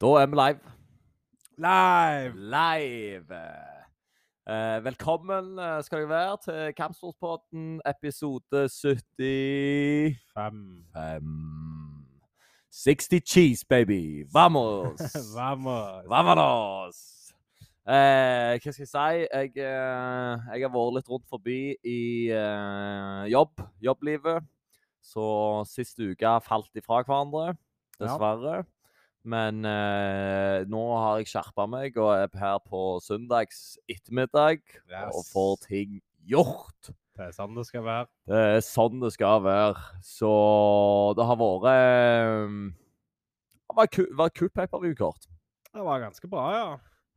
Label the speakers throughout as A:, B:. A: Da er vi live.
B: Live!
A: Live! Eh, velkommen eh, skal dere være til Kampsportpodden episode 75.
B: Fem.
A: 60 cheese, baby! Vamos!
B: Vamos!
A: Vamos! Eh, hva skal jeg si? Jeg, eh, jeg har vært litt rundt forbi i eh, jobb, jobblivet. Så siste uke falt de fra hverandre,
B: Ja.
A: dessverre. Men eh, nå har jeg skjerpa meg og er her på søndags ettermiddag og
B: Yes.
A: får ting gjort.
B: Det er sånn det skal være.
A: Det er sånn det skal være. Så det har vært eh, Det har vært ku- vært kult paperview-kort.
B: Det var ganske bra, ja.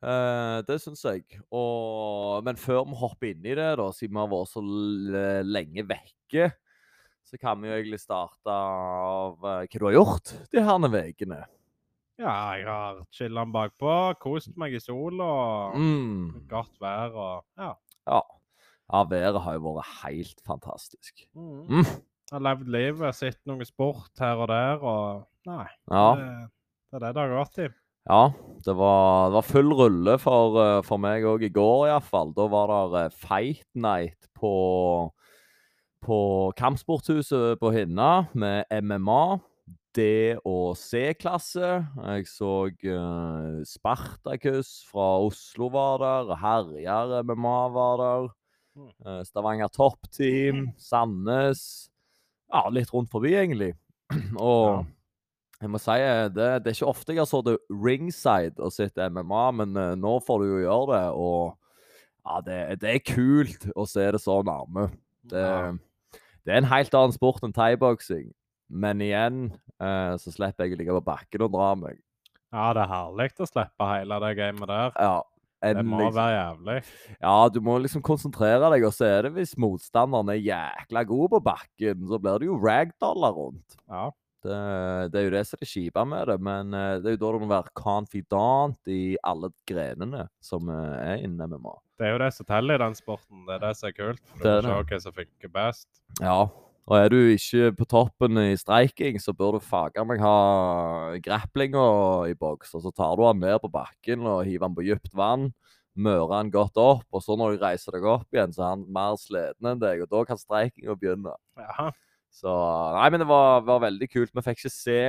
A: Eh, det syns jeg. Og, men før vi hopper inn i det, da, siden vi har vært så l- lenge vekke, så kan vi jo egentlig starte av eh, hva du har gjort de her ukene.
B: Ja, jeg har chillen bakpå, kost meg i sol og
A: Mm.
B: godt vær og ja.
A: Ja. ja, været har jo vært helt fantastisk.
B: Mm.
A: Mm.
B: Jeg har levd livet, sett noe sport her og der og Nei.
A: Ja,
B: Det, det er det det har gått i.
A: ja det, var, det var full rulle for, eh, for meg òg i går, iallfall. Da var det eh, fight night på, på Kampsporthuset på Hinna med MMA. D- og C-klasse. Jeg så eh, Spartacus fra Oslo var der. Herjer MMA var der.
B: Mm.
A: eh, Stavanger Top Team. Sandnes. Ja, litt rundt forbi, egentlig. Og jeg må si eh, det, det er ikke ofte jeg har sittet ringside og sett MMA, men eh, nå får du jo gjøre det. Og ja, det, det er kult å se det så nærme. Det,
B: Ja.
A: det er en helt annen sport enn thaiboksing. Men igjen eh, så slipper jeg å ligge på bakken og dra meg.
B: ja, det er herlig å slippe hele det gamet der.
A: Ja,
B: Det
A: en
B: må
A: liksom,
B: være jævlig.
A: ja, du må liksom konsentrere deg, og så er det hvis motstanderen er jækla god på bakken, så blir det jo ragdoller rundt.
B: Ja.
A: Det, det er jo det som er det kjipe med det, men eh, det er jo da du må være confident i alle grenene som eh, er inne med mat.
B: Det er jo det som teller i den sporten. Det er det som er kult. For
A: Det er
B: du må se hva som funker best.
A: Ja. Og er du ikke på toppen i streiking, så bør du faga meg ha grapplinga i boks. Og så tar du han ned på bakken og hiver han på dypt vann. Mører han godt opp, og så når du reiser deg opp igjen, så er han mer sliten enn deg. Og da kan streikinga begynne.
B: Ja.
A: Så Nei, men det var, var veldig kult. Vi fikk ikke se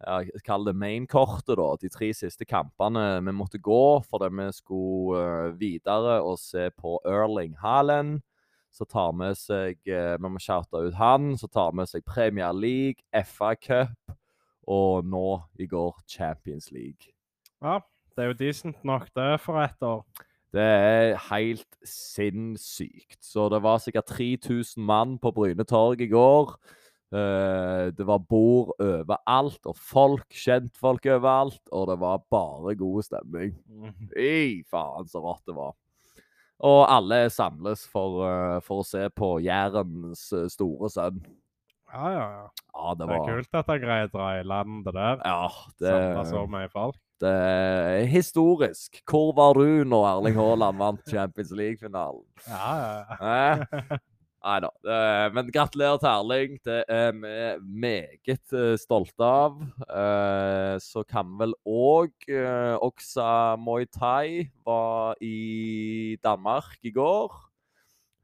A: ja, Kall det main-kortet, da. De tre siste kampene vi måtte gå fordi vi skulle eh, videre og se på Erling Haaland. Så tar vi seg eh, Vi må shoute ut han. Så tar vi seg Premier League, FA Cup og nå i går Champions League.
B: Det er jo decent nok, det, for ett år.
A: Det er helt sinnssykt. Så det var sikkert 3000 mann på Bryne torg i går. Eh, det var bord overalt, og folk, kjentfolk overalt, og det var bare god stemning. Fy faen, så rått det var. Og alle samles for, eh, for å se på Jærens eh, store sønn.
B: Ja, ja, ja.
A: Ja, det
B: Det er
A: var
B: kult at jeg greier å dra i land det der.
A: Ja, det,
B: Samle så mye folk.
A: det er historisk. Hvor var du når Erling Haaland vant Champions League-finalen?
B: Ja, ja,
A: Eh?
B: ja.
A: Nei da. det- Men gratulerer til Erling. Det er vi meget eh, stolte av. Eh, Så kan vel òg eh, Oksa Muay Thai var i Danmark i går.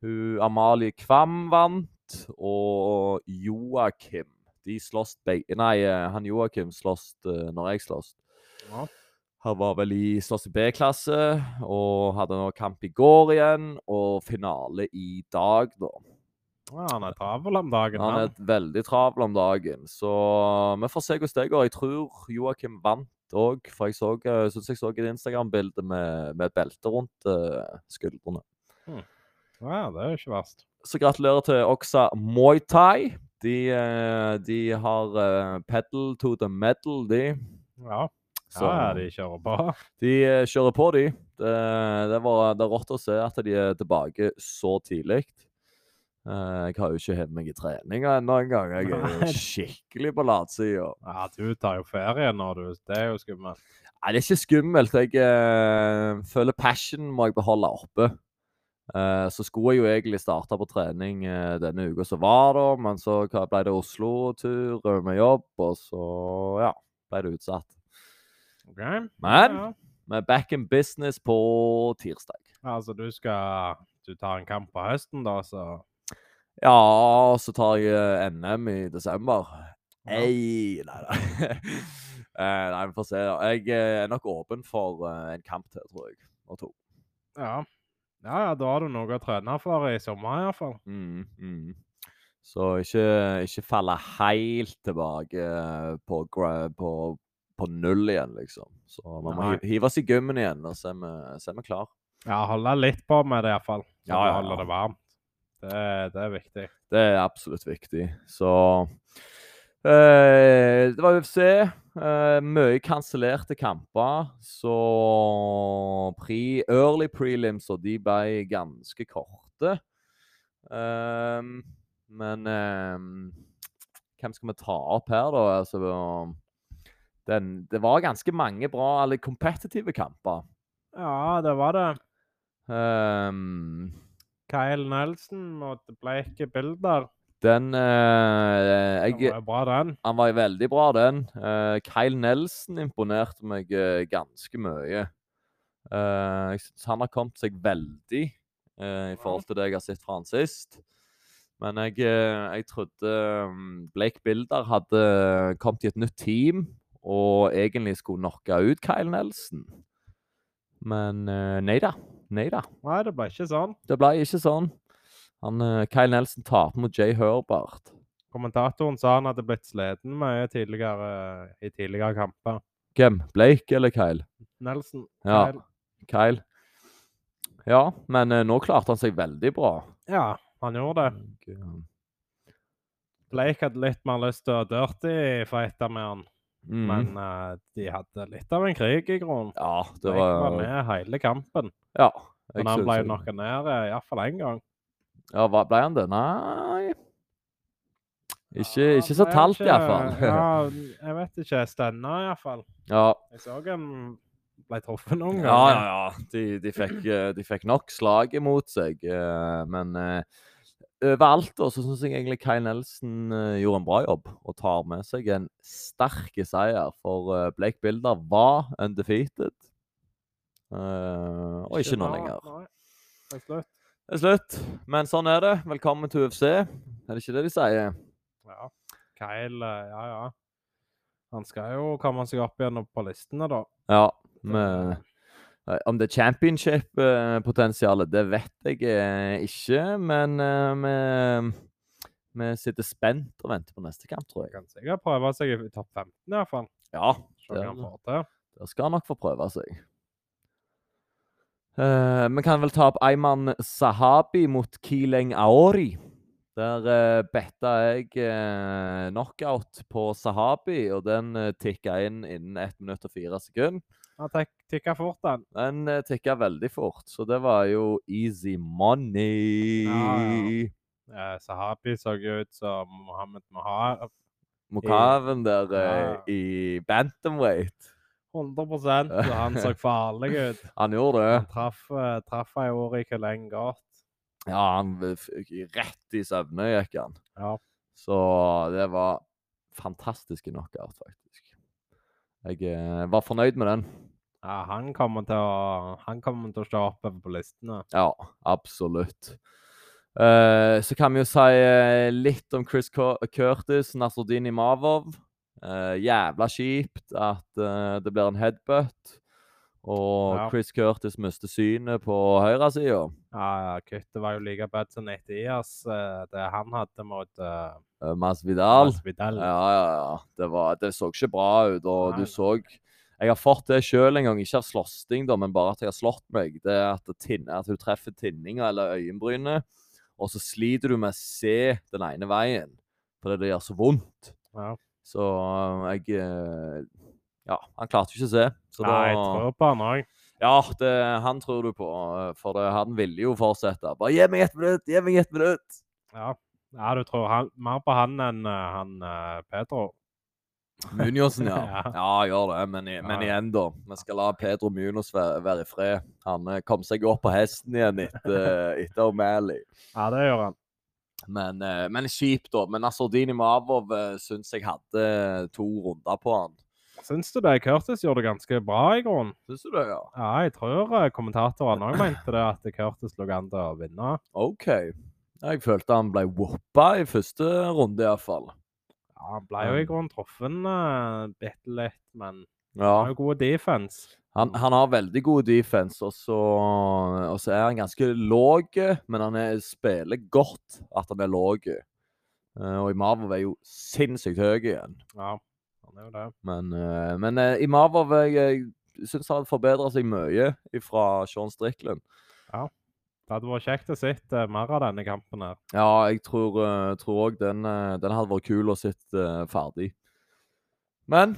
A: Hun Amalie Kvam vant, og Joakim De slåss begge Nei, eh, han Joakim slåss eh, når jeg slåss.
B: Ja.
A: Han var vel i slåss i B-klasse, og hadde nå kamp i går igjen, og finale i dag, da.
B: Ja, han er travel om dagen,
A: Han er
B: han.
A: et veldig travel om dagen, så eh, vi får se hvordan det går. Jeg tror Joakim vant òg, for jeg så, eh, synes jeg så et Instagram-bilde med, med et belte rundt eh, skuldrene.
B: Ja, det er jo ikke verst.
A: Så gratulerer til Oksa Muay Thai. De, eh, de har eh, pedal to the medal, de.
B: Ja,
A: Så
B: ja de kjører på.
A: de eh, kjører på, de. Det, det, var, det er rått å se at de er tilbake så tidlig. Eh, Jeg har jo ikke hevet meg i treninga ennå engang. Jeg er
B: Nei.
A: jo skikkelig på latsida.
B: Ja, du tar jo ferie nå, du. Det er jo skummelt.
A: Nei, det er ikke skummelt. Jeg eh, føler passion må jeg beholde oppe. Eh, så skulle jeg jo egentlig starte på trening eh, denne uka som var, da, men så ka- eh, ble det Oslo-tur med jobb, og så ja, ble det utsatt.
B: OK? Ja,
A: Men
B: ja.
A: vi er back in business på tirsdag.
B: Altså, du skal Du tar en kamp på høsten, da, så
A: Ja, så tar jeg eh, NM i desember.
B: Ja.
A: Ei, nei, nei. Eh, nei, vi får se. da. Jeg eh, er nok åpen for eh, en kamp til, tror jeg. Og to.
B: Ja. Ja, ja, da har du noe å trene for i sommer, iallfall.
A: Mm, mm. Så ikke, ikke falle helt tilbake eh, på, gra- på, på null igjen, liksom. Så man må
B: Nei.
A: hi- hive oss i gymmen igjen, og så er vi- så er vi klar.
B: Ja, holde litt på med det, iallfall.
A: Ja,
B: Så du
A: ja, ja.
B: holder det varmt. Det, det er viktig.
A: Det er absolutt viktig. Så eh, Det var UFC. eh, mye kansellerte kamper. Så pre, early prelims, og de ble ganske korte. Ehm, men ehm, hvem skal vi ta opp her, da? Altså, den, det var ganske mange bra eller kompetitive kamper.
B: Ja, det var det.
A: Ehm,
B: Kyle Nelson mot Blake Bilder.
A: den eh,
B: Den
A: jeg,
B: var jo bra, den.
A: Han var jo veldig bra, den. Eh, Kyle Nelson imponerte meg eh, ganske mye. Eh, jeg syns han har kommet seg veldig eh, i forhold til det jeg har sett fra han sist. Men jeg, eh, jeg trodde mm, Blake Bilder hadde kommet i et nytt team og egentlig skulle knocke ut Kyle Nelson. Men eh, nei da. Nei da.
B: Nei, det ble ikke sånn.
A: Det ble ikke sånn. Han, eh, Kyle Nelson taper mot Jay Herbert.
B: Kommentatoren sa han hadde blitt sliten mye tidligere i tidligere kamper.
A: Hvem? Blake eller Kyle?
B: Nelson.
A: Ja.
B: Kyle-
A: Kyle. Ja, men eh, nå klarte han seg veldig bra.
B: ja, han gjorde det.
A: Og, eh,
B: Blake hadde litt mer lyst til å dirty-fighte med han,
A: mm.
B: men eh, de hadde litt av en krig i grunnen.
A: Ja, det
B: Blake var
A: var
B: med hele kampen,
A: Ja. jeg
B: men han
A: synes
B: ble
A: jeg-
B: jo knocka ned eh, i hvert fall én gang.
A: Ja, hva, ble han det? Nei Ikke,
B: Ja,
A: ikke så
B: ble
A: talt,
B: ikke-
A: iallfall.
B: ja, jeg vet ikke. Stønna iallfall.
A: Ja.
B: Jeg så han ble truffet noen ganger.
A: Ja, ja, ja. De, de, fikk, eh, de fikk nok slag imot seg, eh, men eh, overalt da, så syns jeg egentlig Kai Nelson eh, gjorde en bra jobb og tar med seg en sterk seier, for eh, Blake Bilder var undefeated. Eh, og ikke nå
B: bra,
A: lenger.
B: nei. Det er slutt.
A: Det er slutt, men sånn er det. Velkommen til UFC. Er det ikke det de sier?
B: Ja. Kyle, eh, ja, ja. Han skal jo komme seg opp igjen opp på listene, da.
A: Ja. Med, Nei, Eh, Om det er championship-potensialet, det vet jeg eh, ikke. Men eh, vi, vi sitter spent og venter på neste kamp, tror
B: Han
A: jeg.
B: kan sikkert prøve seg i topp 15, iallfall.
A: Ja,
B: Se hva
A: Ja.
B: han får til.
A: der skal han nok få prøve seg. Eh, Vi kan vel ta opp Ayman Sahabi mot Kileng Aori. Der uh, betta jeg eh, knockout på Sahabi, og den uh, tikka inn innen 1 minutt og 4 sekunder.
B: Han tek- tikker fort, han.
A: Den eh, tikka veldig fort, så det var jo easy money.
B: ja. Eh, Sahabi så jo ut som Mohammed Mahar.
A: Mokaven der eh,
B: Ja.
A: i bantamweight.
B: 100 og han så farlig ut.
A: Han gjorde det.
B: Han traff, eh, traff Aori Kuleng godt.
A: Ja, han v- f- gikk rett i søvne gikk han.
B: Ja.
A: Så det var fantastiske knockout, faktisk. Jeg eh, var fornøyd med den.
B: Ja, han kommer til å, han kommer til å stå oppover på listene.
A: Ja, absolutt. Eh, så kan vi jo si eh, litt om Chris Cur- Curtis, Nasruddin Imavov. Eh, jævla kjipt at eh, det blir en headbutt. Og
B: Ja.
A: Chris Curtis mister synet på høyresida.
B: Ja, kuttet var jo like bad som Nettias, det han hadde mot eh,
A: Uh, Masvidal.
B: Masvidal.
A: Ja, ja, ja. Det, var, det så ikke bra ut, og
B: Nei,
A: du så Jeg har fått det sjøl en gang, ikke av slåssing, da, men bare at jeg har slått meg. Det er at, det tin- at hun treffer tinninga eller øyenbrynet, og så sliter du med å se den ene veien fordi det gjør så vondt.
B: Ja.
A: Så øh, jeg øh, Ja, han klarte jo ikke å se. Så
B: Nei, jeg tror på han òg.
A: Ja, det, han tror du på, øh, for det, han ville jo fortsette. Bare gi meg ett minutt! Gi meg ett minutt!
B: Ja. ja, du tror han, mer på han enn eh, han eh, Pedro.
A: Muniosen, ja.
B: Ja.
A: Ja, gjør det. Men, i- men
B: Ja, ja.
A: igjen, da. Vi skal la Pedro Munoz være, være i fred. Han eh, kom seg opp på hesten igjen etter, eh, etter O'Malley.
B: Ja, det gjør han.
A: Men, eh, men kjipt, da. Men Asordini Mavov eh, syns jeg hadde to eh, runder på han.
B: Syns du det? Curtis gjorde det ganske bra, i grunnen.
A: Syns du det, ja?
B: Ja, jeg tror eh, kommentatorene òg mente det, at Curtis lå an til å vinne.
A: OK. Jeg følte han ble whoppa i første runde, iallfall.
B: Ja, han ble jo i
A: Um.
B: grunnen truffet eh, bitte litt, men han
A: Ja.
B: har jo god defense.
A: Han, han har veldig god defense, og så, og så er han ganske låg, men han er, spiller godt at han er låg. Eh, og Imavov er jo sinnssykt høy igjen.
B: Ja, han er jo det.
A: Men, eh, men eh, Imavov jeg, jeg syns han forbedra seg mye fra Sean Strickland.
B: Det hadde vært kjekt å se eh, mer av denne kampen her.
A: Ja, jeg tror eh, tror òg den, eh, den hadde vært kul å sitte eh, ferdig. Men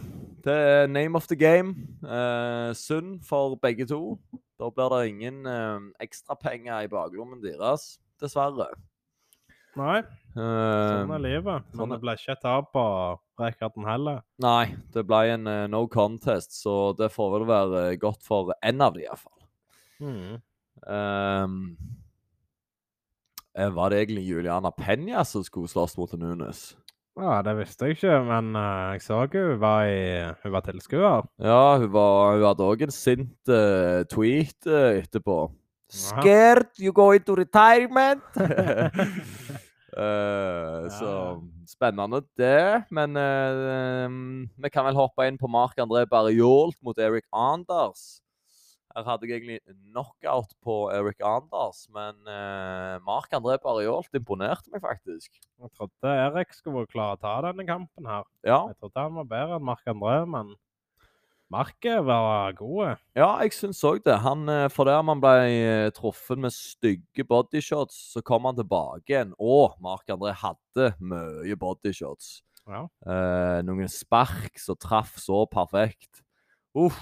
A: det er name of the game. Eh, synd for begge to. Da blir det ingen eh, ekstrapenger i baklommen deres, dessverre.
B: Nei,
A: Eh,
B: sånn er livet.
A: sånn
B: Men
A: er-
B: det ble ikke et tap på Rekarden heller.
A: nei, det ble en eh, no contest, så det får vel være godt for én av de, iallfall.
B: Mm.
A: Ehm, eh, var det egentlig Juliana Penya som skulle slåss mot Nunes?
B: Ja, det visste jeg ikke, men eh, jeg så hun var, i- hun var tilskuer.
A: Ja, hun, var, hun hadde òg en sint eh, tweet eh, etterpå.
B: Jaha.
A: Scared you go into retirement! Eh, Så spennende det. Men eh, ehm, vi kan vel hoppe inn på Marc-André Barriolt mot Eric Anders. Her hadde jeg egentlig knockout på Eric Anders, men uh, Marc-André Barriolt imponerte meg faktisk.
B: Jeg trodde Erik skulle klare å ta denne kampen her.
A: Ja,
B: Jeg trodde han var bedre enn Mark André, men Market var god.
A: ja jeg syns òg det. Han, eh, for der man ble eh, truffet med stygge bodyshots, så kom han tilbake igjen. Og Marc-André hadde mye bodyshots.
B: Ja.
A: Eh, noen spark som traff så perfekt. Uff.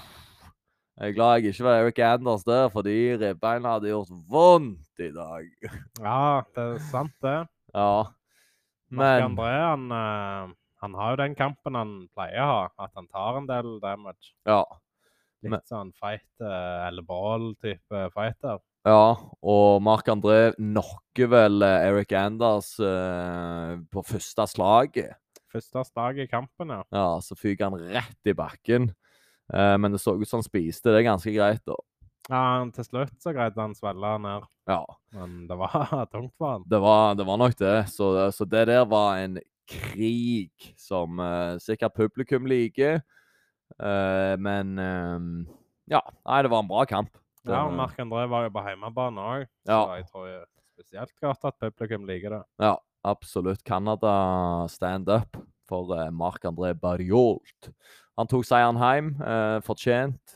A: Jeg er glad jeg ikke var Eric Anders der, for de ribbeina hadde gjort vondt i dag.
B: ja, det er sant, det.
A: Ja.
B: Mark
A: Men
B: André han, eh, han har jo den kampen han pleier å ha, at han tar en del damage.
A: Ja.
B: Litt
A: Men-
B: sånn fight eh, eller ball-type fighter.
A: Ja, og Marc-André knocker vel eh, Eric Anders eh, på første slaget.
B: Første slag i kampen, ja.
A: Ja, så fyker han rett i bakken. Eh, men det så ut som han spiste det ganske greit, da.
B: ja. han- Til slutt så greide han å svelle ned,
A: Ja,
B: men det var tungt for han.
A: det var, det var nok det. Så, det- så det der var en krig som eh, sikkert publikum liker. Eh, men eh, ja, nei, det var en bra kamp. Det-
B: Ja, og Mark André var jo på hjemmebane òg, så
A: Ja.
B: jeg tror jo spesielt godt at publikum liker det.
A: Ja, absolutt. Canada stand up for eh, Marc-André Barjolt. Han tok seieren hjem, eh, fortjent.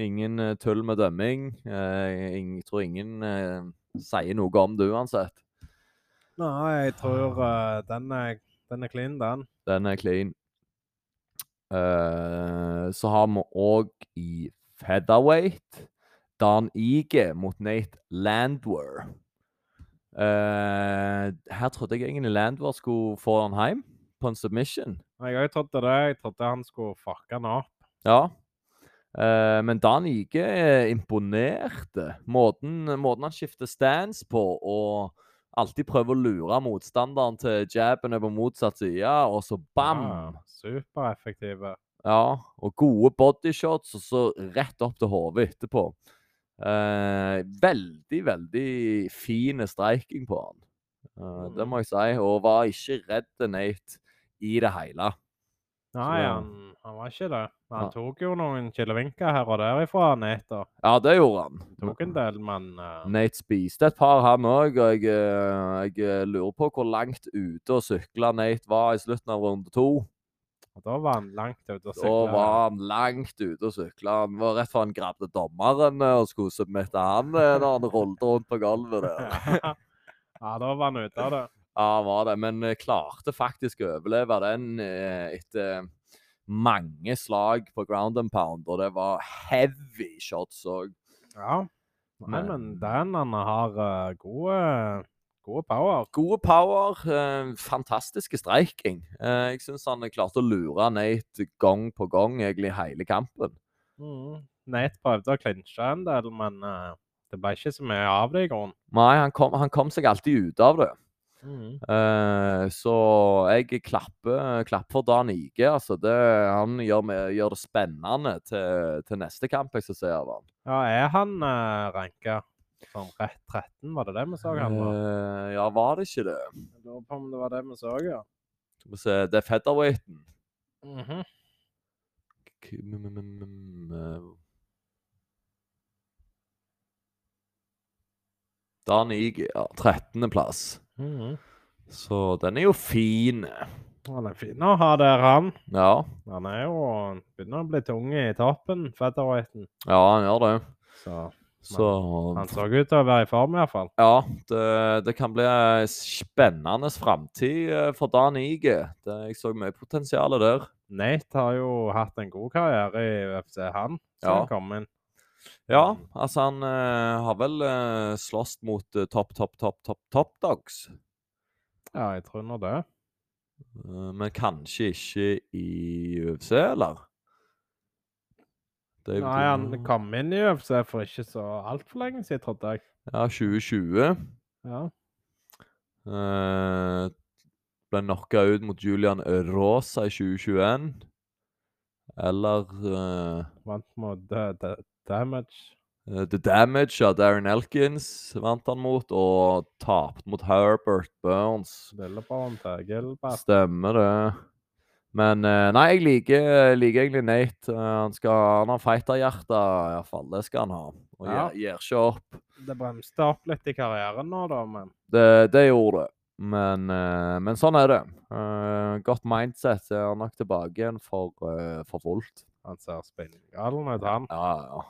A: Ingen eh, tull med dømming. Eh, ing- jeg tror ingen eh, sier noe om det uansett.
B: Nei, jeg tror eh, den, er, den er clean, den.
A: Den er clean. Eh, så har vi òg i featherweight Dan Ige mot Nate Landwer. Eh, her trodde jeg egentlig Landwer skulle få han hjem på en submission.
B: Jeg òg trodde det. Jeg trodde han skulle fucke han opp.
A: Ja. Eh, men Dan Ige eh, imponerte. Måten, måten han skifter stands på og alltid prøver å lure motstanderen til jabben over motsatt side, og så bam!
B: Ja, Supereffektive.
A: Ja, og gode bodyshots, og så rett opp til hodet etterpå. Eh, veldig, veldig fin streiking på han. Eh, det
B: Mm.
A: må jeg si. Og var ikke redd Nate i det hele.
B: Nei,
A: det-
B: han, han var ikke det. Men
A: Nei.
B: han tok jo noen kilevinker her og der ifra Neto.
A: Ja, det gjorde han.
B: Tok en del, men eh,
A: Nate spiste et par, han òg. Og jeg, eh, jeg eh, lurer på hvor langt ute og sykla Nate var i slutten av runde to.
B: da var han langt ute og
A: Da
B: sykla.
A: var han langt ute og sykla. Han var rett før han grabde dommeren eh, og skulle submitte han eh, når han rullet rundt på gulvet der.
B: ja, da var han ute av det.
A: Ja, han var det, men eh, klarte faktisk å overleve den eh, etter mange slag på ground and pound, og det var heavy shots òg.
B: Ja. Nei, men
A: Men-
B: den han har eh, gode, gode power.
A: Gode power, eh, fantastiske streiking. Eh, jeg syns han klarte å lure Nate gang på gang egentlig hele kampen.
B: Mm. Nate prøvde å klinsje en del, men eh, det ble ikke så mye av det i grunnen.
A: Nei, han kom, han kom seg alltid ut av det.
B: Mhm.
A: Eh, så jeg klapper, klapper for Dan Ige. Altså det, han gjør, meg- gjør det spennende til, til neste kamp jeg skal se av han.
B: Ja, er han uh, ranka sånn rett 13, var det det vi så han var?
A: Eh, ja, var det ikke det?
B: Jeg lurer på om det var det vi så, ja.
A: Skal vi se, det er featherweighten.
B: Mhm.
A: K- mm, mm, mm, mm, eh. Dan Ige, ja. 13. plass.
B: Mhm.
A: Så den er jo fin.
B: Han er fin å ha der, han.
A: Ja,
B: Han er jo han begynner å bli tung i toppen, featherweighten.
A: ja han gjør det.
B: Så
A: Så
B: han så ut til å være i form, iallfall.
A: Ja, det, det kan bli ei spennende framtid eh, for Dan Ige. Det, jeg så mye potensial der.
B: Nate har jo hatt en god karriere i UFC, han. Så
A: Ja.
B: han kom inn.
A: Ja,
B: Mm.
A: altså han eh, har vel uh, slåss mot eh, topp, topp, topp, topp, topp dogs.
B: Ja, jeg tror nå det.
A: Eh, men kanskje ikke i UFC, eller? Det er jo
B: Nei, han
A: det-
B: kom inn i UFC for ikke så altfor lenge siden, trodde jeg.
A: Ja, 2020.
B: Ja.
A: Eh, ble knocka ut mot Julian Rosa i 2021. Eller eh,
B: Vant mot da- da- Damage.
A: Eh, The Damage av Darren Elkins vant han mot, og tapt mot Herbert Burns.
B: Lillebroren til Gilbert.
A: Stemmer det. Men eh, nei, jeg liker, liker egentlig Nate. Eh, Han, skal, han har fighterhjerte, iallfall. Det skal han ha. Og
B: Ja.
A: gir- gir ikke opp.
B: Det bremste opp litt i karrieren nå, da, men
A: Det, det gjorde det. Men, eh, men sånn er det. Eh, godt mindset er han nok tilbake igjen for, eh, for fullt.
B: han ser spinngalen ut, han.
A: Ja, ja.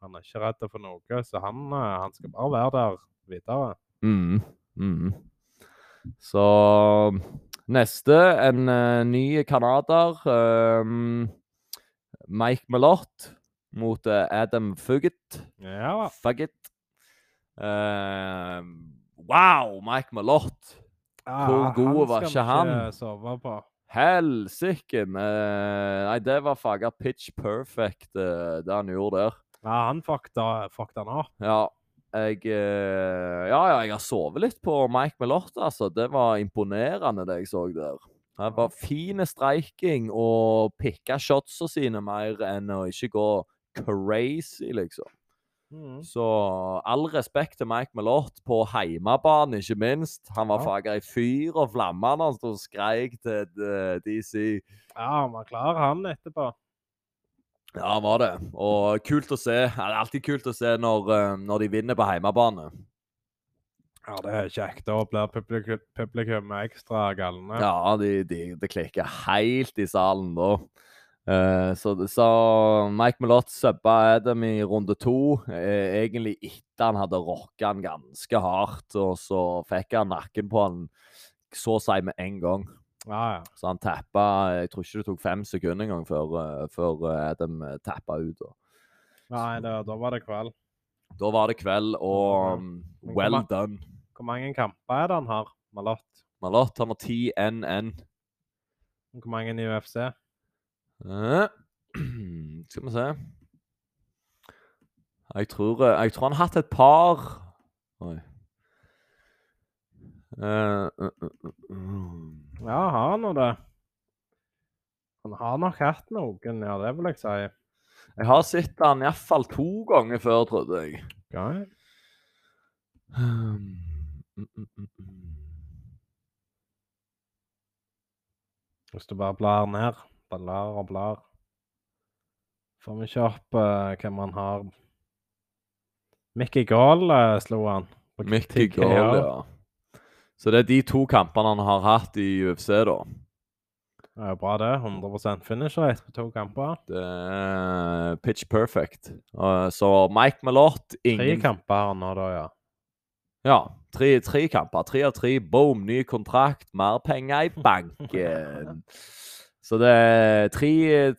B: Han er ikke redd for noe, så han, eh, han skal bare være der videre.
A: Mm. Mm. Så neste, en eh, ny kanader. ehm, Mike Mellott mot eh, Adam Fugget.
B: Ja da.
A: Fugget. Ehm, wow, Mike Mellott! Hvor god var ikke han?
B: Ah, skal vi ikke sove på.
A: Helsike! med- Nei, det var faga pitch perfect, eh, det han gjorde der.
B: Ja, han fucked eh, fucked han opp.
A: Ja. Jeg, eh, ja, ja, jeg har sovet litt på Mike Melotte, altså. Det var imponerende, det jeg så der. Han var fin streiking og pikka shotsa sine mer enn å ikke gå crazy, liksom.
B: Mhm.
A: Så all respekt til Mike Melotte på heimebane, ikke minst. Han var
B: Ja.
A: faga i fyr og flamme når han sto og skreik til eh, DC.
B: Ja, han var klar, han etterpå.
A: Ja, han var det. Og kult å se. Det er alltid kult å se når, eh, når de vinner på heimebane.
B: Ja, det er kjekt. Da blir publikum, publikum ekstra galne.
A: Ja, de, de, det klikker helt i salen da. Eh, så, så Mike Mellott subba Adam i runde to. eh, egentlig etter han hadde rocka han ganske hardt. Og så fikk han nakken på han så å si med en gang.
B: Ja, ja.
A: Så han tappa Jeg tror ikke det tok fem sekunder engang før, eh, før eh, Adam eh, tappa ut. Da.
B: Nei, da, da var det kveld.
A: da var det kveld, og mm,
B: Men
A: well
B: hva-
A: done.
B: Hvor mange kamper er det han har, Malott?
A: Mellott han har 10 NN.
B: Hvor mange i UFC?
A: Eh, Skal vi se jeg tror, eh, jeg tror han har hatt et par Oi. Eh, eh, eh, eh.
B: Ja, har han nå det? Han har nok hatt noen, ja, det vil jeg si.
A: Jeg har sett han iallfall to ganger før, trodde jeg.
B: Okay.
A: Hmm. Mm, mm, mm, mm.
B: Hvis du bare blar ned, blar og blar. Får vi ikke opp eh, hvem han har Mickey Gall eh, slo han. på
A: Mickey
B: TKO.
A: Gall, ja. Så det er de to kampene han har hatt i UFC, da.
B: Det er jo bra, det. 100 finisher rate på to kamper.
A: Det er pitch perfect. Eh, så Mike Mellott
B: Tre
A: ingen
B: kamper har han nå, da, ja.
A: Ja. Tre, tre kamper. Tre av tre. Boom, ny kontrakt. Mer penger i banken. Så det er tre,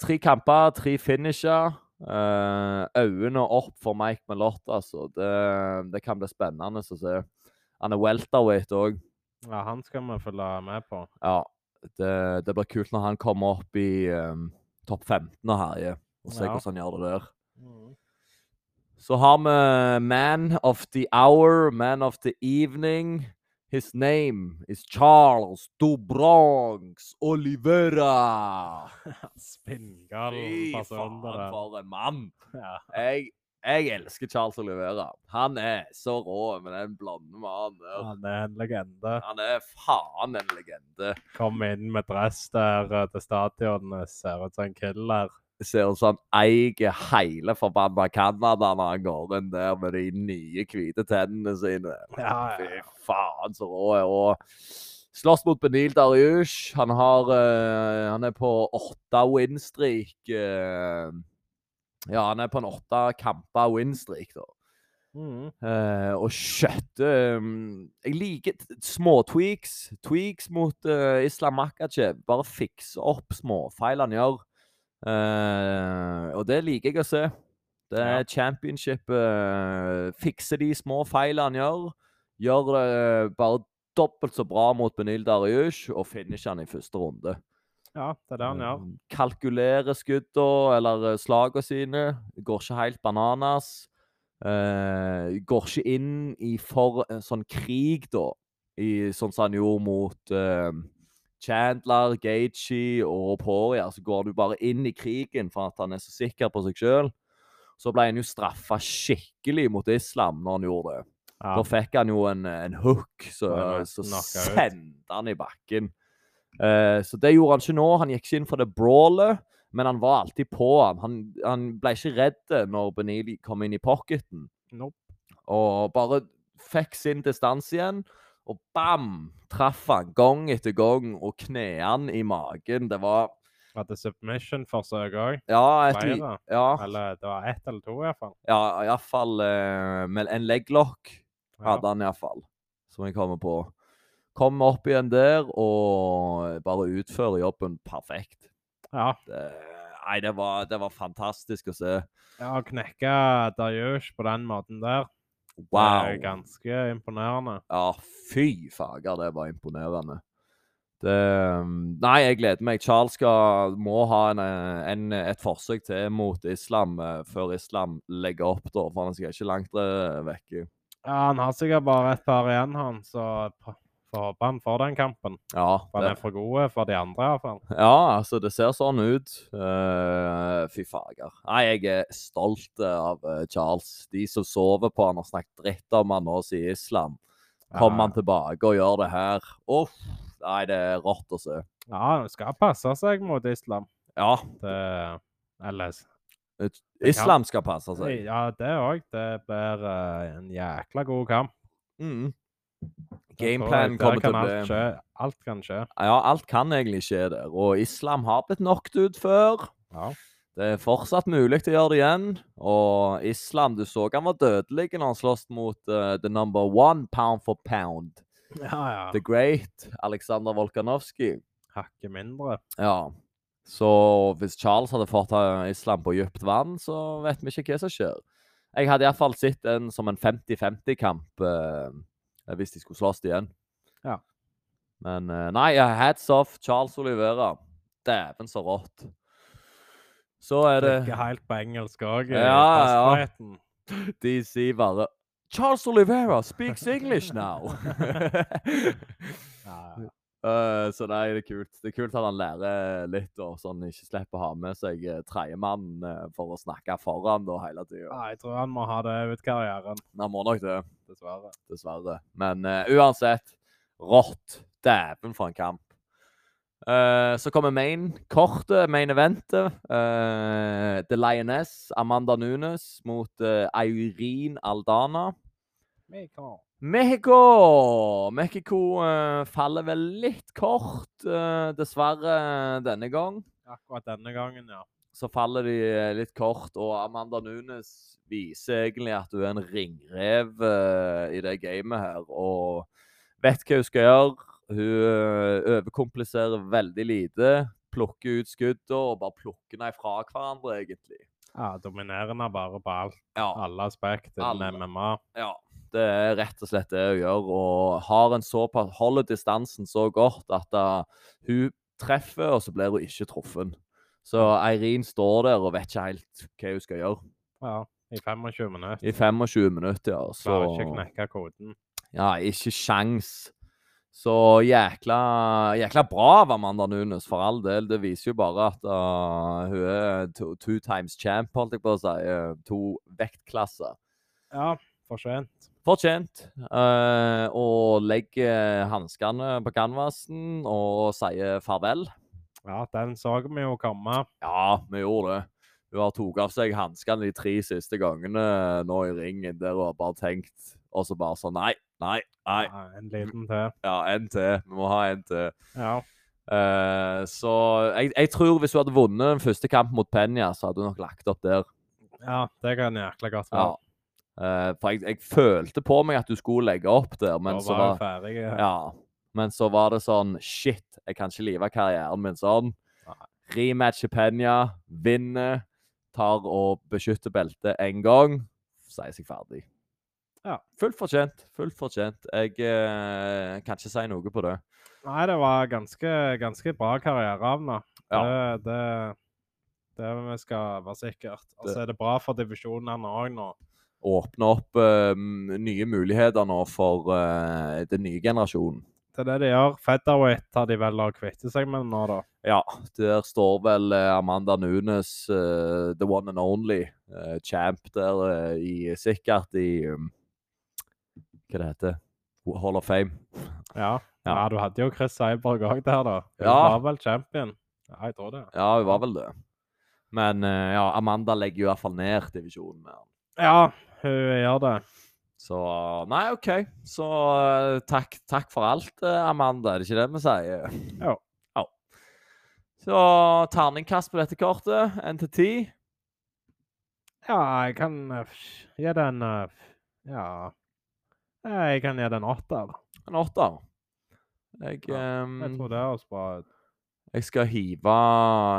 A: tre kamper, tre finisher. Eh, Øynene opp for Mike Mellott, altså. Det, det kan bli spennende å se. Han er welterweight òg.
B: ja. Han skal vi følge med på.
A: Ja, det, det blir kult når han kommer opp i eh, topp 15 og herjer. Og se
B: Ja.
A: hvordan han gjør det der. Så har vi Man of the Hour, Man of the Evening. His name is Charles Dobronx Olivera.
B: Spinngal
A: Fy faen,
B: person. det der.
A: for en mann!
B: Ja.
A: Jeg, jeg elsker Charles Olivera. Han er så rå med den blonde mannen der.
B: Han er en legende.
A: Han er faen en legende.
B: Kom inn med dress der eh, til stadionet, ser ut som en killer.
A: Ser ut som han eier hele forbanna Canada når han går inn der med de nye hvite tennene sine.
B: Ja, ja.
A: Fy faen, så rå er han. Slåss mot Benil Dariush. Han, har, eh, han er på åtte win-streak. eh. ja, han er på en åtte kamper win-streak, da.
B: Mm.
A: Eh, og kjøttet um, Jeg liker t- små tweaks. Tweaks mot eh, Islam Makachev. Bare fikse opp småfeil han gjør. Eh, og det liker jeg å se. Det er
B: Ja.
A: championship. eh, fikse de små feilene han gjør. Gjør det eh, bare dobbelt så bra mot Benil Dariush, og finish han i første runde.
B: Ja, det er det han gjør.
A: Um, Kalkulerer skuddene eller eh, slagene sine. Går ikke helt bananas. Eh, går ikke inn i for eh, sånn krig, da. I, sånn som han gjorde mot eh, Chandler, Gaethje og Poria. Så går du bare inn i krigen for at han er så sikker på seg sjøl. Så ble han jo straffa skikkelig mot islam når han gjorde det.
B: Ja.
A: Da fikk han jo en, en hook, så,
B: Ja, ja,
A: så
B: knocka ut.
A: sendte han i bakken. Eh, så det gjorde han ikke nå. Han gikk ikke inn for det brawlet, men han var alltid på han. Han, han ble ikke redd når Benili kom inn i pocketen.
B: Nope.
A: Og bare fikk sin distanse igjen, og bam! Traff han gang etter gang, og knærne i magen. Det var
B: Hadde submission-forsøk òg.
A: Ja, et, li-
B: Flere.
A: ja,
B: Eller det var ett eller to, iallfall.
A: ja iallfall uh, med en leglock.
B: Ja.
A: hadde han iallfall, som jeg kommer på. Kom opp igjen der og bare utføre jobben perfekt.
B: ja.
A: Det, nei, det var, det var fantastisk å se.
B: ja å knekke Darius på den måten der, det er
A: Wow!
B: ganske imponerende.
A: Ja, fy fager, det var imponerende. Det, nei, jeg gleder meg. Charles skal, må ha en, eh, en, et forsøk til mot islam eh, før islam legger opp, da, for han skal ikke langt eh, vekke.
B: Ja, Han har sikkert bare et par igjen, han, så p- får håpe han får den kampen.
A: Ja,
B: For han er for god eh, for de andre, iallfall.
A: Ja, altså, det ser sånn ut. Eh, fy fager. Nei, jeg er stolt av eh, Charles. De som sover på han og snakket dritt om han nå sier islam. Kommer han tilbake og gjør det her? Uff. Nei, det er rått å se.
B: Ja, han skal passe seg mot islam.
A: Ja,
B: Det, eller
A: islam skal passe seg.
B: Ja, det òg. Det blir eh, en jækla god kamp.
A: Mm.
B: Det tror jeg.
A: Gameplanen
B: Der
A: kommer til
B: kan
A: å
B: alt
A: bli
B: skje. Alt kan skje.
A: Ja, alt kan egentlig skje der. Og islam har blitt knocked ut før.
B: Ja.
A: Det er fortsatt mulig til å gjøre det igjen. Og Islam, du så han var dødelig når han sloss mot eh, the number one pound for pound.
B: Ja,
A: The great Aleksandr Volkanovskij.
B: Hakket mindre.
A: Ja. Så hvis Charles hadde fått eh, Islam på dypt vann, så vet vi ikke hva som skjer. Jeg hadde iallfall sett den som en 50-50-kamp eh, hvis de skulle slåss igjen.
B: Ja.
A: Men eh, nei, eh, hats off Charles Olivera. Dæven så rått. Så er det
B: Ikke helt på engelsk òg.
A: Ja, ja. De sier bare Charles Olivera speaks English now.
B: Ja, ja.
A: Eh, så nei, det er kult. Det er kult at han lærer litt, og sånn ikke slipper å ha med seg eh, tredjemann eh, for å snakke foran da hele tida.
B: Ja, jeg tror han må ha det ut karrieren,
A: Han må nok det,
B: dessverre.
A: dessverre. Men eh, uansett, rått. Dæven for en kamp. Eh, så kommer main kortet, main eventet. Eh, The Lioness, Amanda Nunes mot eh, Eirin Aldana.
B: Mikro.
A: Mexico! Mexico eh, faller vel litt kort, eh, dessverre, denne gang.
B: Akkurat denne gangen, ja.
A: Så faller de eh, litt kort, og Amanda Nunes viser egentlig at hun er en ringrev eh, i det gamet her, og vet hva hun skal gjøre. Hun eh, overkompliserer veldig lite, plukker ut skuddene og bare plukker dem fra hverandre, egentlig.
B: ja dominerende bare på alt.
A: Ja.
B: alle aspekt
A: Alle.
B: innen MMA.
A: Ja, det er rett og slett det hun gjør. Og har en såpass, holder distansen så godt at uh, hun treffer, og så blir hun ikke truffet. Så Eirin står der og vet ikke helt hva hun skal gjøre.
B: Ja, i 25 minutter.
A: I 25 minutter, ja. Så
B: Klarer ikke å knekke koden.
A: Ja, ikke sjans. Så jækla, jækla bra av Amanda Nunes, for all del. Det viser jo bare at uh, hun er to, two times champ, holdt jeg på å si. eh, To vektklasser.
B: Ja, for sent.
A: Fortjent. eh, og legger hanskene på canvasen og sier farvel.
B: Ja, den så vi jo komme.
A: Ja, vi gjorde det. Hun har tatt av seg hanskene de tre siste gangene nå i ringen der hun har bare tenkt, og så bare sånn Nei, nei, nei.
B: Ja, en liten til.
A: Ja, en til. Vi må ha en til.
B: Ja.
A: Eh, så jeg, jeg tror hvis hun hadde vunnet den første kampen mot Penya, så hadde hun nok lagt opp der.
B: ja, det kan jækla godt
A: Ja.
B: være.
A: Eh, for jeg, jeg følte på meg at du skulle legge opp der, men
B: da
A: så
B: var
A: var
B: vi ferdige.
A: Ja. Men så var det sånn Shit, jeg kan ikke live karrieren min sånn.
B: Nei.
A: Rematcher Penya, vinner, tar og beskytter beltet én gang, sier seg ferdig.
B: Ja.
A: Fullt fortjent. Fullt fortjent. Jeg eh, kan ikke si noe på det.
B: Nei, det var ganske, ganske bra karriere av henne. Det, det, det vi skal være sikkert. Og så er det bra for divisjonene òg nå.
A: Åpne opp eh, nye muligheter nå for eh, den nye generasjonen.
B: Det er det de gjør. Featherweight har de vel å kvitte seg med nå, da.
A: Ja, der står vel eh, Amanda Nunes, eh, the one and only eh, champ der eh, i sikkert i um, Hva det heter Hall of Fame.
B: Ja.
A: Ja.
B: ja. du hadde jo Chris Seiberg òg der, da. Hun
A: Ja.
B: var vel champion. Ja, jeg tror det.
A: Ja, hun var vel det. Men eh, ja, Amanda legger jo i hvert fall ned divisjonen med han.
B: Ja, hun gjør det.
A: Så Nei, OK. Så eh, takk, takk for alt, eh, Amanda. Er det ikke det vi sier?
B: Jo.
A: Ja. Så terningkast på dette kortet. Én til ti.
B: Ja, jeg kan eh, f- gi den eh, f- Ja. Jeg kan gi den åtter.
A: En åtter. Jeg,
B: Jeg
A: ehm,
B: tror det høres bra ut.
A: Jeg skal hive,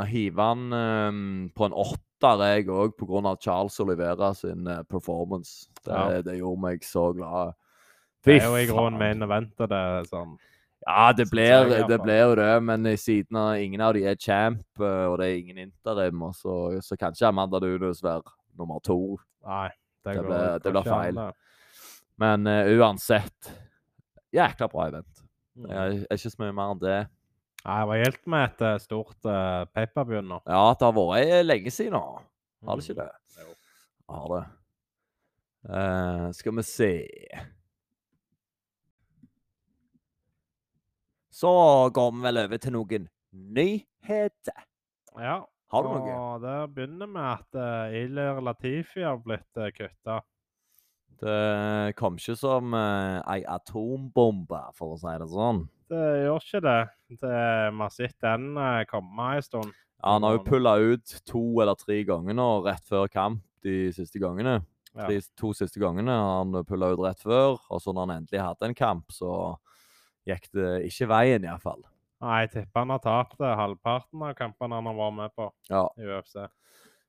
A: hive han ehm, på en åtter, jeg òg, pga. Charles Olivera sin eh, performance. Det,
B: Ja.
A: det gjorde meg så glad.
B: Det er
A: Fy
B: jo i
A: faen.
B: grunnen min event, det er sånn.
A: Ja, det
B: Synes jeg i
A: blir,
B: hvert
A: det
B: fall.
A: blir jo det, men i siden av ingen av de er champ, eh, og det er ingen interim, og så, så kan ikke Amanda Nunes være nummer to.
B: Nei,
A: Det
B: det, går-
A: ble- det
B: går
A: ble
B: ikke an,
A: feil.
B: det.
A: Men eh, uansett Jækla bra event. Det
B: Mm.
A: er er ikke så mye mer enn det.
B: Nei, jeg var helt med et eh, stort uh, paperbyen nå.
A: Ja, det har vært eh, lenge siden nå. Har det ikke det?
B: Mm. Jo.
A: Har det. Eh, skal vi se Så går vi vel over til noen nyheter.
B: Mm. Ja.
A: Har du noe?
B: Og det begynner med at uh, Ilir Latifi har blitt uh, kutta.
A: Det kom ikke som eh, ei atombombe, for å si det sånn.
B: Det gjør ikke det. det vi har sett den eh, komme en stund.
A: Ja, han har jo
B: Mm.
A: pulla ut to eller tre ganger nå, rett før kamp de siste gangene.
B: Ja.
A: De to siste gangene har han pulla ut rett før, og så når han endelig hadde en kamp, så gikk det ikke veien, iallfall.
B: Nei, jeg tipper han har tapt eh, halvparten av kampene han har vært med på
A: Ja.
B: i UFC.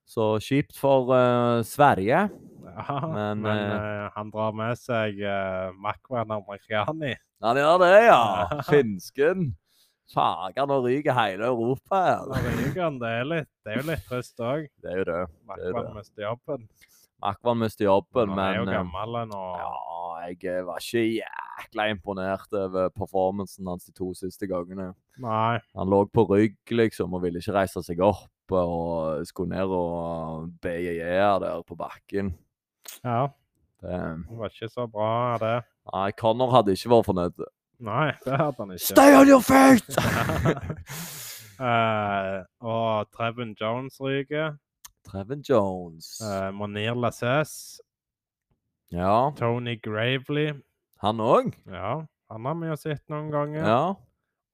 A: Så kjipt for eh, Sverige.
B: Ja,
A: Men,
B: men eh, han drar med seg uh, Makwan Amerikani.
A: Han gjør det, ja! Finsken. Fager, nå ryker hele Europa
B: Da
A: her.
B: ryker han. Det er litt- det er jo litt trist òg.
A: Det er jo det.
B: Makwan
A: det.
B: mister jobben.
A: Akvan mister jobben,
B: han er jo
A: men eh,
B: gammel nå.
A: ja, Ah, jeg var ikke jækla imponert over performancen hans de to siste gangene.
B: Nei.
A: Han lå på rygg, liksom, og ville ikke reise seg opp. Og skulle ned og BJJ-er der på bakken.
B: Ja,
A: Det,
B: det var ikke så bra, det.
A: nei, Connor hadde ikke vært fornøyd.
B: Nei, det hadde han ikke.
A: Stay on your feet!
B: Eh, og Trevin Jones ryker.
A: Trevin Jones.
B: eh, Monir Lasses.
A: Ja,
B: Tony Gravely.
A: han òg?
B: Ja, han har vi jo sett noen ganger.
A: Ja.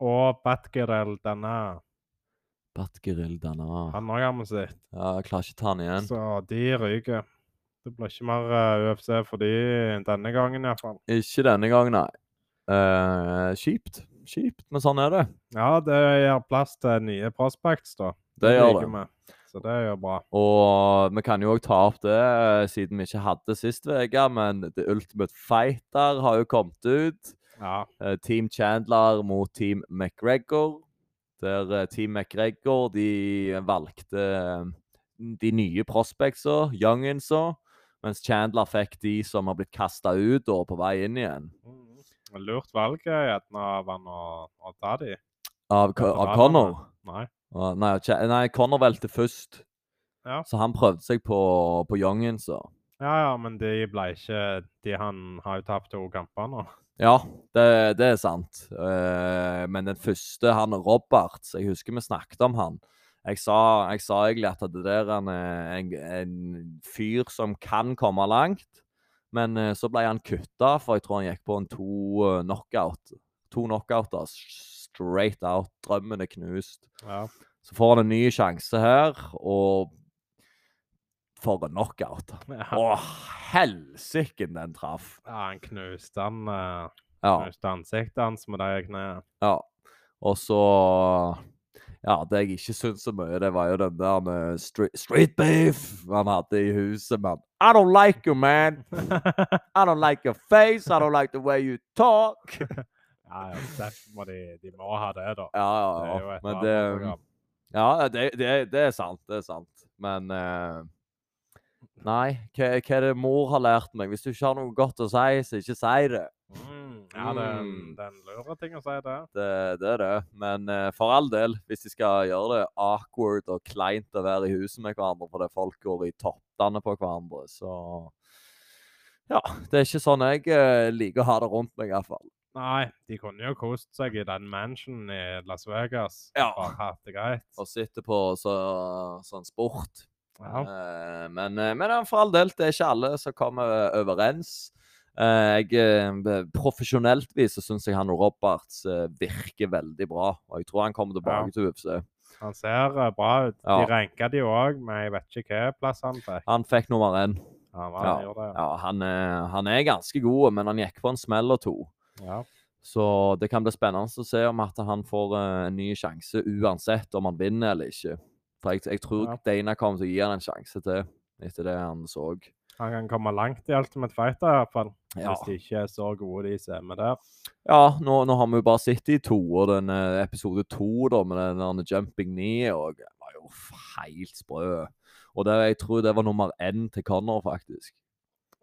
B: Og Batgerel Dana.
A: Batgeril Dana.
B: Han òg har vi sett.
A: Ja, jeg klarer ikke ta han igjen.
B: Så de ryker. Det blir ikke mer eh, UFC for de denne gangen, iallfall.
A: Ikke denne gangen, nei. Eh, kjipt. Kjipt, men sånn er det.
B: Ja, det gjør plass til nye prospects, da.
A: Det gjør det.
B: liker vi. Så det er jo bra.
A: Og vi kan jo òg ta opp det, eh, siden vi ikke hadde sist uke, men The Ultimate Fighter har jo kommet ut.
B: Ja.
A: Eh, Team Chandler mot Team McGregor. Der eh, Team McGregor de valgte eh, de nye prospectsa, younginsa, mens Chandler fikk de som har blitt kasta ut og på vei inn igjen.
B: Mm. Lurt valg eh, gjerne av han å å ta de.
A: Av, Co- av Connor?
B: Nei.
A: Å, Nei, ikke- nei, Connor valgte først.
B: Ja.
A: Så han prøvde seg på, på youngen, så.
B: Ja, ja, men de ble ikke De han har jo tapt to kamper nå.
A: Ja, det, det er sant. Eh, men den første, han Roberts, jeg husker vi snakket om han. Jeg sa, jeg sa egentlig at det der er en, en, en fyr som kan komme langt. Men eh, så ble han kutta, for jeg tror han gikk på en to eh, knockout. To knockouter s- straight out. Drømmen er knust.
B: Ja.
A: Så får han en ny sjanse her, og for en knockout.
B: ja.
A: Å, helsiken den traff.
B: Ja, han knuste han eh,
A: Ja.
B: knuste ansiktet hans med de knærne.
A: Ja. Og så Ja, det jeg ikke syntes så mye, det var jo den der med street, street beef han hadde i huset, mann. I don't like you, man. I don't like your face. I don't like the way you talk.
B: ja, ja, derfor må de De må ha det, da.
A: Ja, ja,
B: Det er jo
A: ja.
B: et
A: Men det
B: barneprogram.
A: Ja, det, det, det er sant. Det er sant. Men eh, Nei, hva, hva er det mor har lært meg? Hvis du ikke har noe godt å si, så ikke si det.
B: Mm, ja, det er en-
A: Mm.
B: det er en lure ting å si, det.
A: Det, det er det. Men eh, for all del, hvis de skal gjøre det awkward og kleint å være i huset med hverandre fordi folk går i tottene på hverandre, så Ja. Det er ikke sånn jeg eh, liker å ha det rundt meg, iallfall.
B: Nei, de kunne jo kost seg i den mansionen i Las Vegas.
A: Ja.
B: Bare hatt det greit.
A: Og sitter på så, sånn sport.
B: Ja.
A: Eh, men, eh, men eh, for all del, det er ikke alle som kommer overens. Eh, jeg, eh, be- profesjonelt vis så syns jeg han Roberts eh, virker veldig bra. Og jeg tror han kommer
B: Ja.
A: tilbake til UFC.
B: Han ser eh, bra ut.
A: Ja.
B: De ranka de òg, men jeg vet ikke hva plass han fikk.
A: Han fikk nummer én.
B: Ja, hva han gjorde det.
A: Ja, han, er- han er ganske god, men han gikk på en smell og to.
B: Ja.
A: Så det kan bli spennende å se om at han får eh, en ny sjanse uansett om han vinner eller ikke. For jeg, jeg tror
B: Ja.
A: Dana kommer til å gi han en sjanse til etter det han så.
B: Han kan komme langt i Ultimate Fighter, i hvert fall.
A: Ja,
B: Hvis de ikke er så gode, de som er med der.
A: ja nå, nå har vi jo bare sittet i to, og den eh, episode to da, med den der jumping knee og det var jo helt sprø. Og det, jeg tror det var nummer én til Connor, faktisk.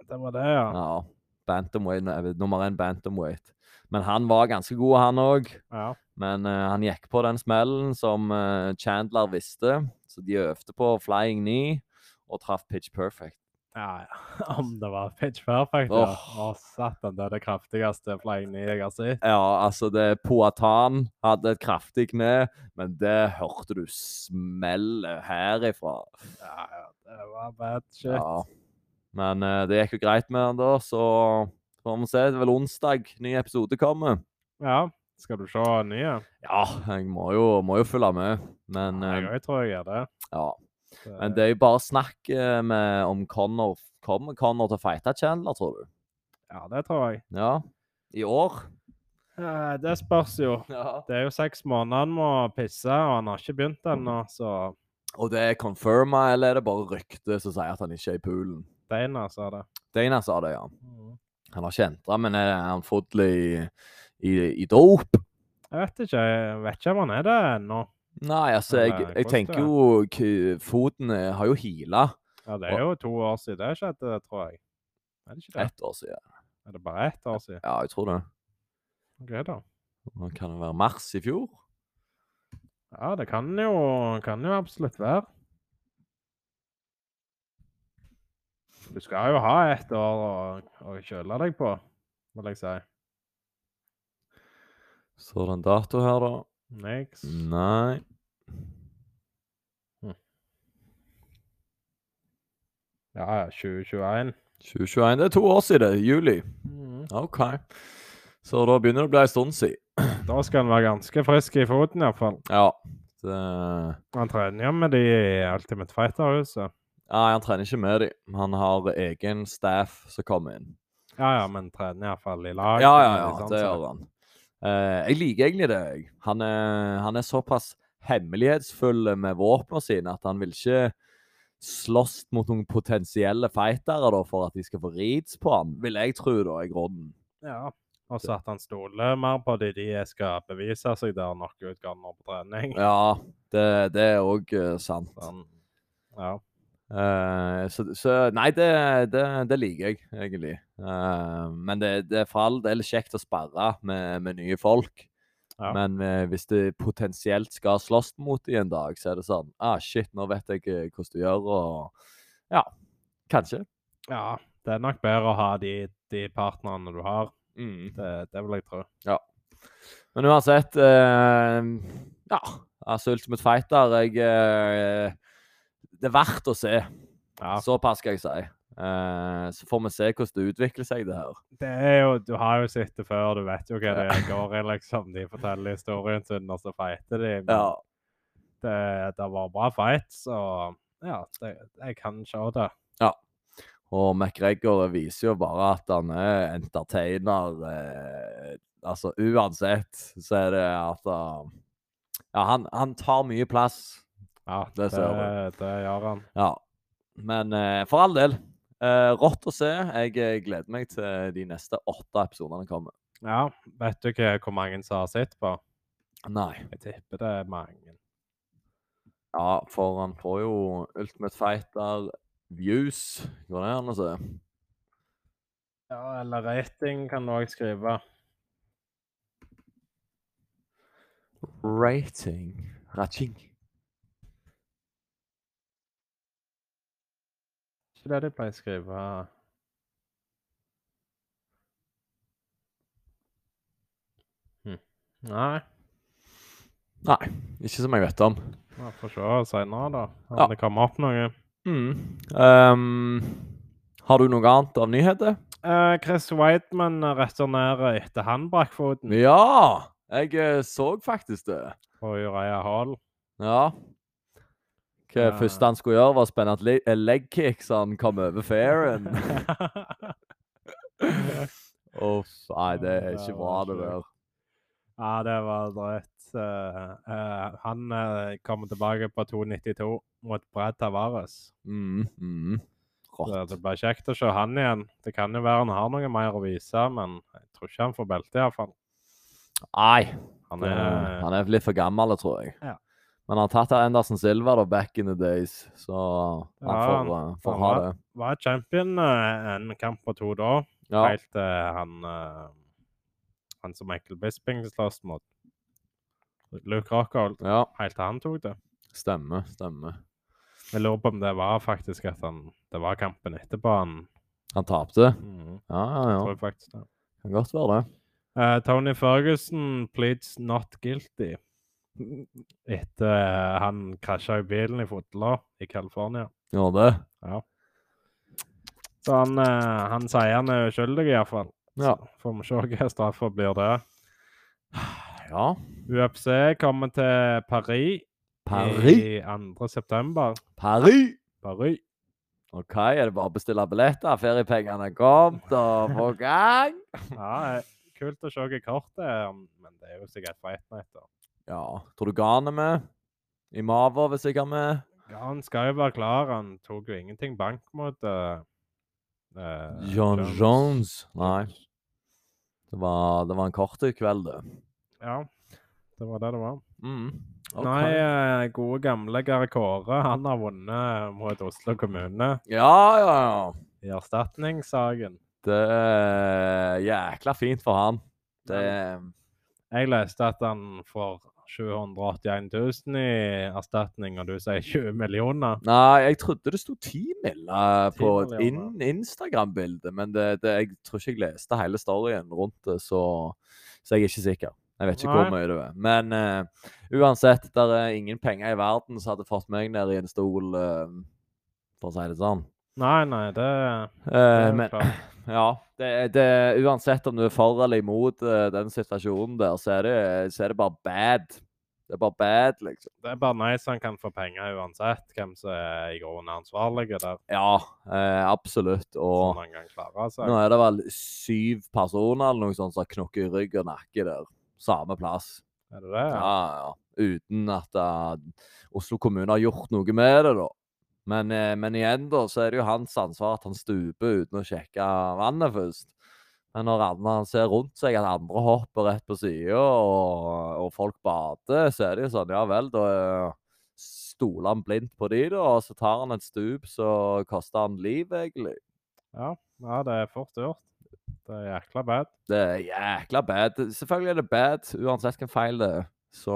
B: Det var det, ja.
A: Ja. Bantamweight, nei, nummer én bantamweight. Men han var ganske god, han òg.
B: ja.
A: Men eh, han gikk på den smellen som eh, Chandler visste, så de øvde på flying knee og traff pitch perfect.
B: Ja, ja. Om det var pitch perfect, ja. Å,
A: Åh.
B: satan, det er det kraftigste flying knee jeg har sett.
A: Ja, altså det Poatan hadde et kraftig kne, men det hørte du smellet herifra.
B: Ja, ja, det var bad shit.
A: Ja. Men eh, det gikk jo greit med han da, så får vi se. Det er vel onsdag ny episode kommer.
B: Ja, skal du se nye?
A: Ja, jeg må jo, må jo følge med, men eh,
B: Jeg òg tror jeg gjør det.
A: ja.
B: Det-
A: Men det er jo bare snakk eh, med, om Connor kommer Connor til å fighte Chandler, tror du?
B: Ja, det tror jeg.
A: Ja. I år?
B: Eh, Det spørs jo.
A: Ja.
B: Det er jo seks måneder han må pisse, og han har ikke begynt
A: Mm.
B: ennå, så
A: Og det er confirma, eller er det bare rykte som sier at han ikke er i poolen?
B: Dana sa det.
A: Dana sa det, ja. Mm. Han har ikke entra, men er han fodlig i, i, i dop?
B: Jeg vet ikke, jeg vet ikke om han er det ennå.
A: Nei, altså, jeg,
B: Nei,
A: jeg
B: hvordan det
A: tenker
B: er?
A: jo k- Foten eh, har jo heala
B: Ja, det er jo to år siden det skjedde, tror jeg. Er det ikke det?
A: ett år siden.
B: Er det bare ett år siden?
A: Ja, jeg tror det.
B: Ok, da.
A: Nå Kan det være mars i fjor?
B: Ja, det kan jo, kan jo absolutt være. Du skal jo ha et år å, å kjøle deg på, vil jeg si.
A: Så den dato her, da?
B: Niks.
A: Mm. Nei.
B: Ja, ja, 2021.
A: 2021. Det er to år siden. det, Juli.
B: Mm.
A: OK. Så da begynner det å bli en stund siden.
B: Da skal han være ganske frisk i foten, iallfall.
A: Ja. Det
B: Han trener jo med de i Ultimate Fighter-huset.
A: Nei, han trener ikke med dem. Han har egen staff som kommer inn.
B: Ja, ja, men trener iallfall i lag.
A: Ja, ja,
B: med de
A: ja,
B: sånn
A: det
B: som-
A: gjør han. Eh, jeg liker egentlig det. jeg. Han er, han er såpass hemmelighetsfull med våpnene sine at han vil ikke slåss mot noen potensielle fightere da, for at de skal få rids på han, vil jeg tro, da, i grunnen.
B: Ja. Og så at han stoler mer på de de skal bevise seg der nok ut ganger på trening.
A: Ja, det, det er òg eh, sant.
B: Sånn. Ja.
A: Eh, så, så Nei, det, det, det liker jeg egentlig. Eh, men det, det er for all del kjekt å sparre med, med nye folk.
B: Ja.
A: Men eh, hvis du potensielt skal slåss mot dem en dag, så er det sånn ah, Shit, nå vet jeg eh, hvordan du gjør, og Ja, kanskje.
B: Ja, det er nok bedre å ha de, de partnerne du har.
A: Mm.
B: Det, det vil jeg tro.
A: Men uansett eh, Ja, altså Ultimate Fighter jeg, eh, Det er verdt å se.
B: Ja.
A: Såpass skal jeg si. Eh, så får vi se hvordan det utvikler seg, det her.
B: Det er jo, du har jo sett det før, du vet jo hva det går i, liksom. De forteller historien sin, og så fighter de. men Det, eh, det var bra fight, så ja, det, jeg kan se det.
A: Og McGregor viser jo bare at han er entertainer. Eh, altså uansett så er det at han- Ja, han, han tar mye plass.
B: Ja,
A: Det
B: det,
A: ser
B: det, gjør han.
A: Ja. Men eh, for all del. Eh, rått å se. Jeg eh, gleder meg til de neste åtte episodene kommer.
B: Ja, vet du ikke hvor mange som har sett på?
A: Nei.
B: Jeg tipper det er mange.
A: Ja, for han får jo Ultimate Fighter Views. Går det an å se?
B: Ja, eller rating kan du òg skrive.
A: Rating Ratching.
B: Ikke det de pleier å skrive. Hm. Nei,
A: Nei, ikke som jeg vet om.
B: vi får se seinere, da. Om
A: Ja.
B: det kommer opp noe.
A: Mm. Ehm, har du noe annet av nyheter?
B: Eh, Chris Whiteman returnerer etter han brakk foten
A: Ja! Jeg eh, så faktisk det.
B: på Uriah Hall.
A: Ja. Hva
B: Ja.
A: første han skulle gjøre, var å spenne et le- eh, leg kick så han kom over fairen. Uff, nei, det er
B: Det
A: ikke bra,
B: var
A: det der.
B: ja, det var drøyt. Eh, eh, han eh, kommer tilbake på 2,92 mot Brad Tavares.
A: Mm, mm.
B: Så
A: Rått.
B: det blir kjekt å se han igjen. Det kan jo være han har noe mer å vise, men jeg tror ikke han får belte, iallfall.
A: Nei,
B: Han
A: det-
B: er
A: eh, han er litt for gammel, tror jeg.
B: Ja.
A: Men han har tatt av Anderson Silva da, back in the days, så han
B: Ja,
A: får, eh, får
B: han
A: ha
B: var-
A: det.
B: var champion eh, en kamp på to da,
A: Ja.
B: helt til han eh, Han som Michael Bisping slåss mot. Luke Rockhold.
A: ja,
B: Helt til han tok det.
A: stemmer, stemmer.
B: Jeg lurer på om det var faktisk at han Det var kampen etterpå han
A: Han tapte.
B: Mhm,
A: Ja, ja, ja.
B: Tror jeg faktisk det.
A: Kan godt være det.
B: Eh, Tony Ferguson pleads not guilty etter eh, han krasja i bilen i fotla i California.
A: Gjorde det?
B: Så han, eh, han sier han er uskyldig, iallfall.
A: Ja.
B: Får vi se hva straffa blir der.
A: Ja.
B: UFC kommer til Paris,
A: Paris!
B: i 2. september.
A: Paris!
B: Paris.
A: OK, er det bare å bestille billetter? Feriepengene er kommet og på gang?
B: Ja, eh, kult å se hva kortet er, men det er jo sikkert på ett meter.
A: Ja. Tror du Gan er med? Imava hvis jeg er med?
B: Ja, han skal jo være klar. Han tok jo ingenting bank mot eh, eh,
A: John Jones? Nei. Det var, det var en kort kveld, det.
B: Ja, det var det det var.
A: Mm. ok.
B: Nei, eh, gode gamle Gare Kåre, han har vunnet mot Oslo kommune
A: Ja, ja, ja.
B: i erstatningssaken.
A: Det er jækla fint for han. Det
B: Jeg leste at han får 781 000 i erstatning, og du sier 20 millioner.
A: Nei, jeg trodde det sto 10 mill. eh,
B: 10
A: på et
B: millioner.
A: in Instagram-bilde, men det, det, jeg tror ikke jeg leste hele storyen rundt det, så, så jeg er ikke sikker. Jeg vet ikke hvor
B: Nei.
A: mye det er. Men eh, uansett, det er eh, ingen penger i verden som hadde fått meg ned i en stol, eh, for å si det sånn.
B: Nei, nei, det, det
A: Eh,
B: er jo
A: men
B: klart.
A: ja, det, det, uansett om du er for eller imot eh, den situasjonen der, så er, det, så er det bare bad. Det er bare bad, liksom.
B: Det er bare nice han kan få penger uansett hvem som er i grunnen ansvarlig der.
A: Ja, eh, absolutt. Og
B: Sånn han kan klare seg.
A: Nå er det vel syv personer eller noe sånt som har knokket i rygg og nakke der. Samme plass.
B: Er det det?
A: Ja, ja. Uten at eh, Oslo kommune har gjort noe med det, da. Men, eh, men igjen, da, så er det jo hans ansvar at han stuper uten å sjekke vannet først. Men når andre, han ser rundt seg at andre hopper rett på sida, og, og folk bader, så er det jo sånn Ja vel, da, eh, stoler han blindt på de, da, og så tar han et stup, så koster han liv, egentlig.
B: Ja, ja det er fort gjort. Det er jækla bad.
A: Det er jækla bad. Selvfølgelig er det bad, uansett hvilken feil det er. Så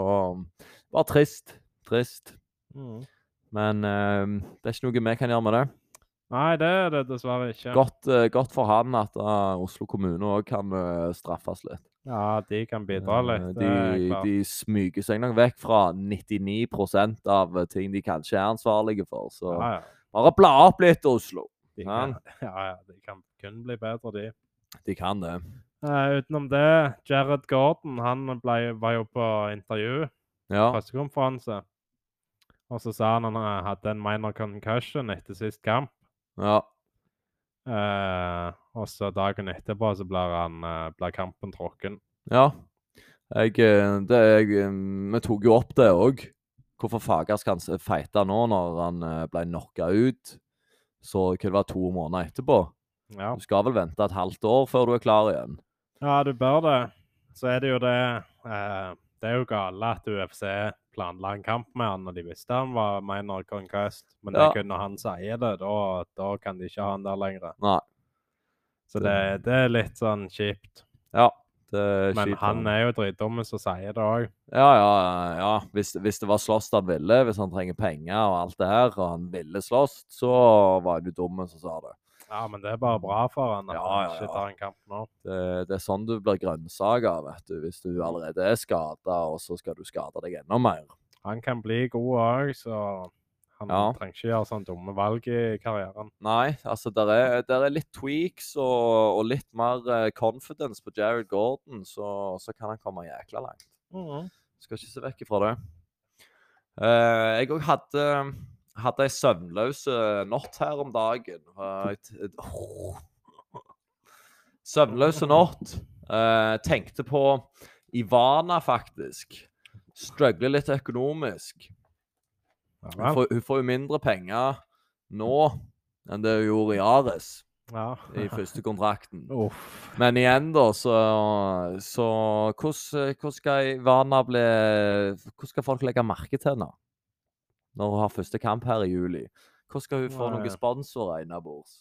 A: bare trist. Trist.
B: Mm.
A: Men eh, det er ikke noe vi kan gjøre med det.
B: Nei, det er det dessverre ikke.
A: Godt, eh, godt for han at eh, Oslo kommune òg kan eh, straffes litt.
B: Ja, de kan bidra
A: Eh,
B: litt. det
A: De,
B: er klart.
A: de smyger seg nok vekk fra 99 av eh, ting de kanskje er ansvarlige for. Så
B: ja, ja.
A: bare bla opp litt, Oslo.
B: De
A: Ja.
B: kan, ja, ja, de kan kun bli bedre, de.
A: De kan det.
B: Eh, utenom det, Jared Gordon han ble, var jo på intervju,
A: Ja.
B: pressekonferanse. Og så sa han han eh, hadde en minor concussion etter sist kamp.
A: ja.
B: Eh, og så dagen etterpå så blir han eh, blir kampen tråkken.
A: Ja. Jeg, eh, det, jeg, eh, vi tok jo opp det òg. Hvorfor fager skal han s- feite nå når han eh, ble knocka ut? Så hva det var to måneder etterpå?
B: Ja.
A: Du skal vel vente et halvt år før du er klar igjen.
B: ja, du bør det. Så er det jo det eh, Det er jo gale at UFC planla en kamp med han, og de visste han var minor concussion. Men det
A: Ja.
B: er kun når han sier det, da, da kan de ikke ha han der lenger.
A: Nei.
B: Så det, det er litt sånn kjipt.
A: Ja. Mm. Det er
B: Men
A: kjipt for
B: han er jo dritdumme som sier det òg.
A: Ja, ja, ja. Hvis, hvis det var slåss han ville, hvis han trenger penger og alt det her, og han ville slåss, så var du dum som sa det.
B: Ja, men det er bare bra for han at
A: Ja,
B: han
A: ja,
B: ikke
A: ja.
B: tar en kamp nå.
A: det. Det er sånn du blir grønnsaga, vet du. Hvis du allerede er skada, og så skal du skade deg enda mer.
B: Han kan bli god òg, så han
A: Ja.
B: trenger ikke gjøre sånne dumme valg i karrieren.
A: Nei, altså der er, der er litt tweaks og, og litt mer eh, confidence på Jared Gordon, så, så kan han komme jækla langt. Skal ikke se vekk ifra det. Eh, jeg òg hadde, hadde ei søvnløs eh, natt her om dagen. Eh, jeg t- åh. Søvnløse natt. Eh, tenkte på Ivana, faktisk. Struggle litt økonomisk.
B: Ja,
A: Hun
B: vel.
A: får, hun får jo mindre penger nå enn det hun gjorde i Ares i
B: ja.
A: første kontrakten.
B: Uff.
A: Men igjen, da, så, så hvordan, hvordan skal Ivana bli Hvordan skal folk legge merke til henne når hun har første kamp her i juli? Hvordan skal hun få
B: Nei.
A: noen sponsorer innabords?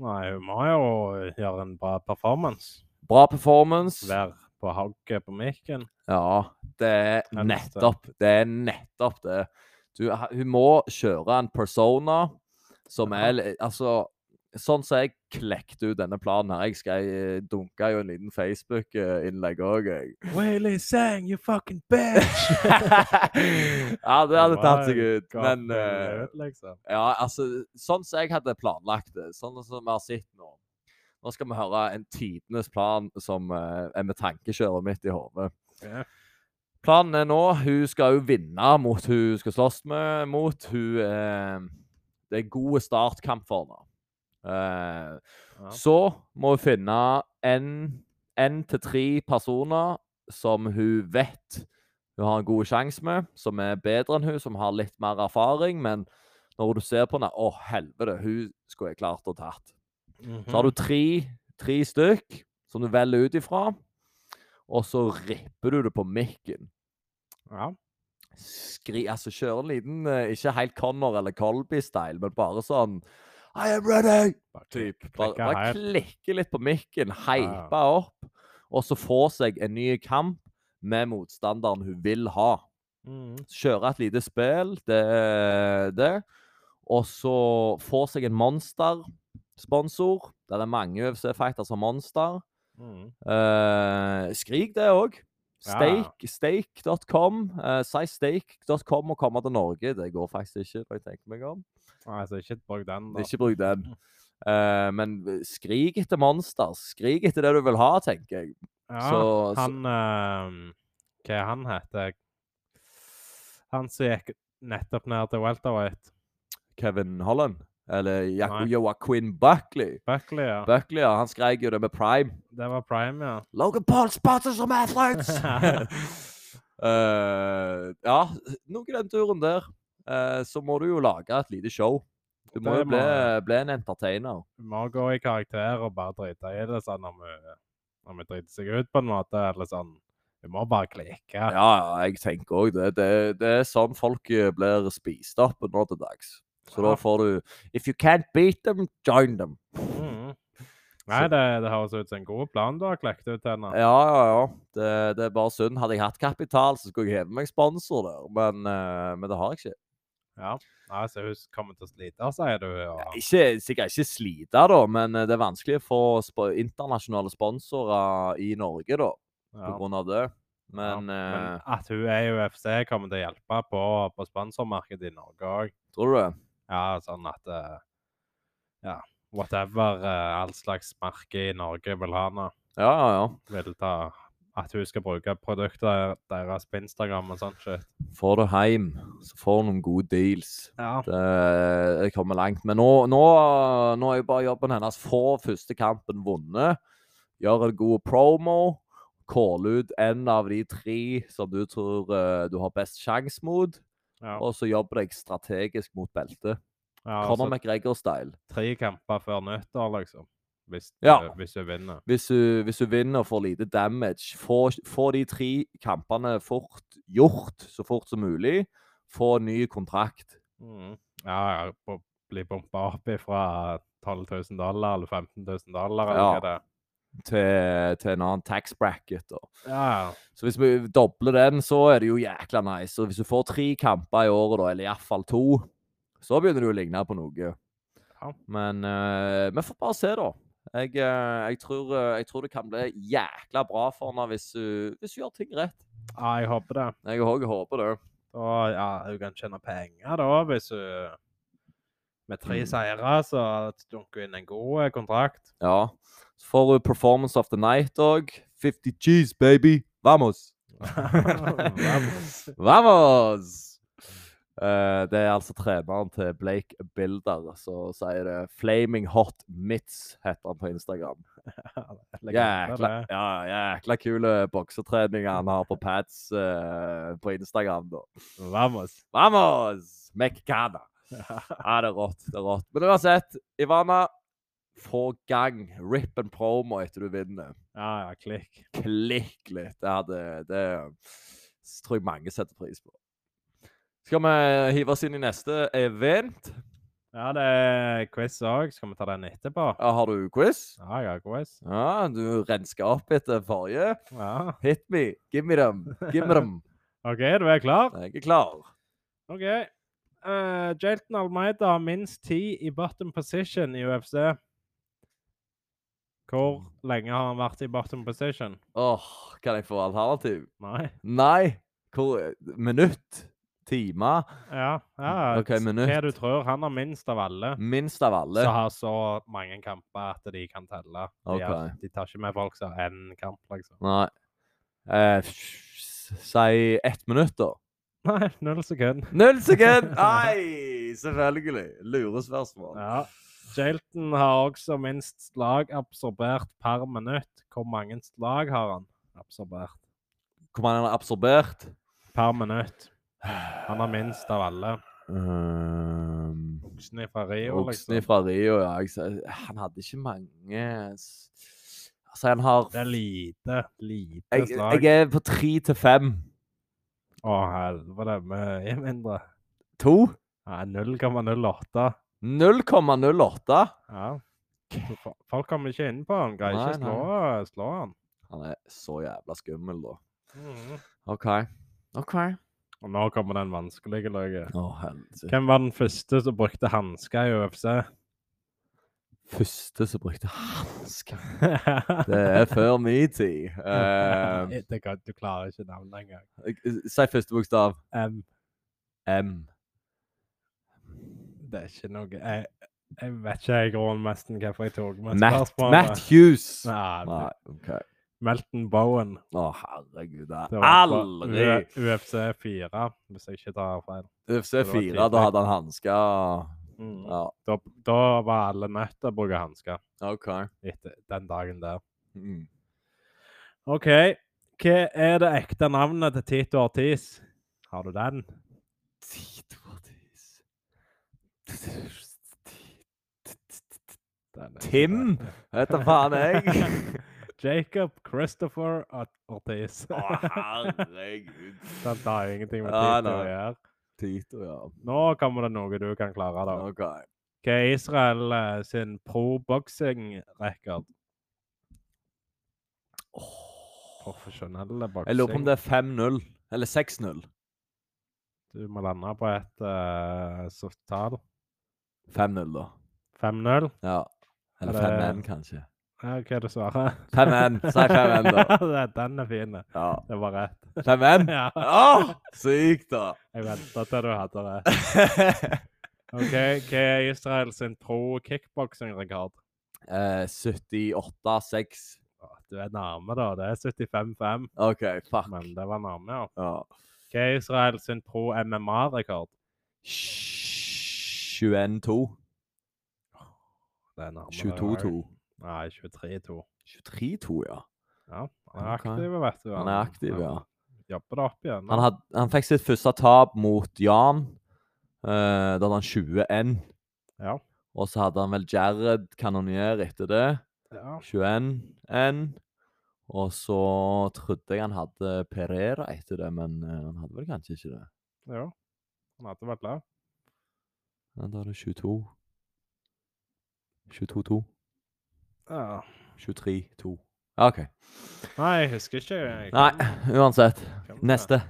B: Nei, hun må jo gjøre en bra performance.
A: Bra performance.
B: Være på hogget på mikken.
A: Ja, det er
B: Helst, ja.
A: nettopp det. er nettopp det. Du, ha- hun må kjøre en persona som
B: Ja.
A: er li- Altså, sånn som jeg klekte ut denne planen her Jeg skal dunke jo en liten Facebook-innlegg òg, jeg.
B: Wayley Sang, you fucking bitch!
A: ja, det hadde tatt seg ut.
B: Gaten
A: Men
B: er
A: eh,
B: ut, liksom.
A: ja, altså, sånn som jeg hadde planlagt det, sånn som vi har sett nå Nå skal vi høre en tidenes plan som eh, er med tankekjøret mitt i hodet.
B: Ja.
A: Planen er nå Hun skal jo vinne mot hun hun skal slåss med, mot hun eh, Det er god startkamp for henne. Eh,
B: Ja.
A: så må hun finne en, en til tre personer som hun vet hun har en god sjanse med, som er bedre enn hun, som har litt mer erfaring, men når du ser på henne Å, helvete, hun skulle jeg klart å tatt.
B: Mhm.
A: Så har du tre, tre stykk som du velger ut ifra, og så ripper du det på mikken.
B: ja.
A: Skri, altså kjøre en liten eh, Ikke helt Connor eller Colby-style, men bare sånn I am ready!
B: Bare
A: typ.
B: klikk-
A: Bare,
B: klikke
A: bare
B: her.
A: klikke litt på mikken,
B: Ja.
A: hype opp, og så få seg en ny kamp med motstanderen hun vil ha.
B: Mhm.
A: Kjøre et lite spill, det er det. Og så få seg en monster-sponsor. Der er mange UFC-fighter som monster.
B: Mhm.
A: Eh, skrik det òg.
B: Ja, ja.
A: Steak, steak.com. eh, si steak.com og komme til Norge. Det går faktisk ikke, når jeg tenker meg om.
B: Nei, så ikke bruk den, da.
A: Ikke bruk den. Eh, men skrik etter monster. Skrik etter det du vil ha, tenker jeg.
B: Ja,
A: så- så-
B: han eh, Hva er han heter Han som gikk nettopp ned til welterweight.
A: Kevin Holland. Eller
B: Nei.
A: jo Joaquin Buckley.
B: Buckley, ja.
A: Buckley, ja, han skrek jo det med prime.
B: Det var prime, ja.
A: Logan Paul sponsors som athletes! Eh, ja, noe i den turen der. eh, så må du jo lage et lite show. Du må
B: Det
A: jo bli,
B: må-
A: bli en entertainer.
B: Vi må gå i karakter og bare drite i det sånn om vi, om vi driter seg ut på en måte, eller sånn Du må bare klikke.
A: Ja, ja, jeg tenker òg det. det. Det er sånn folk eh, blir spist opp nå til dags. Så da
B: Ja.
A: får du If you can't beat them, join them.
B: Mhm. Nei, det, det høres ut som en god plan du har klekt ut henne.
A: Ja, ja, ja. Det, det er bare synd. Hadde jeg hatt kapital, så skulle jeg heve meg sponsor der, men, eh, men det har jeg ikke.
B: Ja. Nei, så hun kommer til å slite, sier du.
A: Ja,
B: Og...
A: Ikke, sikkert ikke slite, da, men eh, det er vanskelig å få sp internasjonale sponsorer i Norge da, på
B: Ja.
A: grunn av det.
B: Ja,
A: Men,
B: men
A: eh,
B: at hun er i UFC, kommer til å hjelpe på, på sponsormarkedet i Norge òg.
A: tror du det?
B: Ja, sånn at eh, Ja, whatever eh, all slags merke i Norge vil ha nå,
A: Ja, ja, ja.
B: vil ta At hun skal bruke produkter deres på Instagram og sånt shit.
A: Får du hjem, så får du noen gode deals.
B: Ja.
A: Det, jeg kommer langt. Men nå, nå, nå er jo bare jobben hennes få første kampen vunnet. Gjør en god promo. Call ut en av de tre som du tror eh, du har best sjanse mot.
B: ja.
A: Og så jobber deg strategisk mot beltet.
B: ja
A: Conor
B: altså,
A: McGregor-style.
B: tre kamper før nyttår, liksom. Hvis,
A: Ja.
B: eh, hvis hun vinner.
A: hvis du, hvis du vinner og får lite damage, få, få de tre kampene fort gjort så fort som mulig. Få ny kontrakt.
B: Mhm. Ja, ja. bo- Bli pumpa opp ifra 12 000 dollar eller 15 000 dollar eller
A: Ja.
B: hva det er.
A: Til, til en annen tax bracket. Da.
B: Ja, ja.
A: Så hvis vi dobler den, så er det jo jækla nice. Og hvis du får tre kamper i året, da, eller iallfall to, så begynner det å ligne på noe.
B: Ja.
A: Men eh, vi får bare se, da. Jeg, eh, jeg, tror, eh, jeg tror det kan bli jækla bra for henne hvis hun hvis hun gjør ting rett.
B: ja, jeg håper det.
A: Jeg òg håper det.
B: Da, ja, hun kan tjene penger da, hvis hun Med tre
A: Mm.
B: seire, så dunker hun inn en god eh, kontrakt.
A: Ja. Så får hun Performance of the Night òg. 50 cheese, baby! Vamos!
B: Vamos.
A: Vamos! Eh, det er altså treneren til Blake Bilder som sier det. Flaming Hot Mitts heter han på Instagram.
B: Legende,
A: Jækla,
B: det.
A: ja, jækla kule boksetreninger han har på pads eh, på Instagram. da.
B: Vamos.
A: Vamos! Mexicana! Ja, det er rått. det er rått. Men uansett, Ivana, få gang. Rip and promo etter du vinner.
B: Ja, ja, klikk.
A: klikk litt. Det, hadde, det s- tror jeg mange setter pris på. Skal vi hive oss inn i neste event?
B: Ja, det er quiz òg. Skal vi ta den etterpå?
A: Ja, har du quiz?
B: Ja, ja, quiz.
A: Ja, du renska opp etter forrige.
B: Ja.
A: Hit me, give me them, give me them.
B: OK, du er klar?
A: Jeg er klar.
B: OK. Eh, Jelton Almeida har minst ti i bottom position i UFC. Hvor lenge har han vært i bottom position?
A: Åh, kan jeg få alternativ?
B: Nei.
A: Nei. Hvor Minutt? Time?
B: Ja, ja.
A: Ok,
B: s- Hva
A: minutt.
B: du tror. Han har minst av alle.
A: Minst av alle.
B: Som har så mange kamper at de kan telle. De, har-
A: Ok.
B: de tar ikke med folk som har én kamp, liksom.
A: Nei. Eh, s- si ett minutt, da.
B: Nei, null sekund.
A: Null sekund! Nei, selvfølgelig. Lurespørsmål.
B: Ja. Jelton har også minst slag absorbert per minutt. Hvor mange slag har han absorbert
A: Hvor mange han har absorbert?
B: per minutt? Han har minst av alle.
A: Ehm,
B: Oksen fra Rio,
A: Oksen
B: liksom.
A: fra Rio, ja. Jeg, sa- han hadde ikke mange s- Altså, han har
B: Det er lite, lite
A: jeg, jeg
B: slag.
A: er på tre til fem.
B: Å, helvete. Mye mindre.
A: To?
B: Nei, 0,08.
A: 0,08.
B: Ja. Så fo- Folk kommer ikke inn på han, greier
A: Nei,
B: ikke å slå, slå han.
A: Han er så jævla skummel, da.
B: Mhm.
A: OK. OK.
B: Og nå kommer den vanskelige løye.
A: Å, helvete.
B: Hvem var den første som brukte hansker i UFC?
A: Første som brukte hansker Det
B: det
A: er før min tid. Ehm,
B: Det kan du klarer ikke navnet engang.
A: jeg- si første bokstav.
B: Um,
A: M.
B: det er ikke noe Jeg, jeg vet ikke jeg grunnen nesten hvorfor jeg tok med
A: Matt, Matt Hughes.
B: Nei,
A: Nei, OK.
B: Melton Bowen.
A: Å, herregud. Det
B: Det
A: er
B: var på
A: aldri
B: U- UFC 4, hvis jeg ikke tar feil. det var
A: UFC4, da
B: tidlig.
A: hadde han hansker.
B: Mhm.
A: Ja,
B: Da, da var alle nødt til å bruke hansker
A: OK.
B: etter den dagen der.
A: Mm.
B: OK. Hva er det ekte navnet til Tito Ortiz? Har du den?
A: Tito Ortiz.
B: den er ikke
A: Tim?
B: det.
A: Vet da faen jeg.
B: Jacob Christopher Ort- Ortiz.
A: Å, herregud.
B: Den har ingenting med
A: Ja,
B: Tito å
A: nei.
B: gjøre.
A: Tito, ja.
B: Nå kommer det noe du kan klare, da.
A: OK.
B: Hva er Israel eh, sin pro boxing-rekord? Profesjonelle boksing.
A: Jeg lurer på om det er 5-0. Eller 6-0.
B: Du må lande på et uh, soft tall.
A: 5-0, da.
B: 5-0.
A: Ja. Eller
B: Eller-
A: 5-1, kanskje.
B: Ja, hva er det svaret?
A: 5-1. Si 5-1, da.
B: Ja, Den er fin. det.
A: Ja.
B: Det var rett.
A: 5-1?
B: Ja,
A: Åh, sykt, da!
B: jeg venta til du hadde det. OK, hva er Israel sin pro kickboksing-rekord?
A: Eh, 78-6.
B: Å, Du er nærme, da. Det er 75-5,
A: OK, fuck.
B: men det var nærme, ja.
A: Ja.
B: Hva er Israel sin pro MMA-rekord?
A: 21-2.
B: Det er nærmere.
A: 22-2.
B: Nei, 23-2.
A: 23-2, ja.
B: Ja, han er
A: Ok.
B: aktiv, vet du.
A: Han er aktiv, ja.
B: Jobber det opp igjen.
A: Han, had, han fikk sitt første tap mot Jan. Eh, da hadde han 21.
B: Ja.
A: Og så hadde han vel Jared Kanonier etter det.
B: ja.
A: 21-1. Og så trodde jeg han hadde Perera etter det, men eh, han hadde vel kanskje ikke det.
B: Jo. Han hadde vært der.
A: Ja, da er det 22. 22-2.
B: Ja.
A: 23-2. Ja, OK.
B: Nei, jeg husker ikke. Jeg
A: Nei,
B: kan-
A: uansett.
B: kan det.
A: Neste.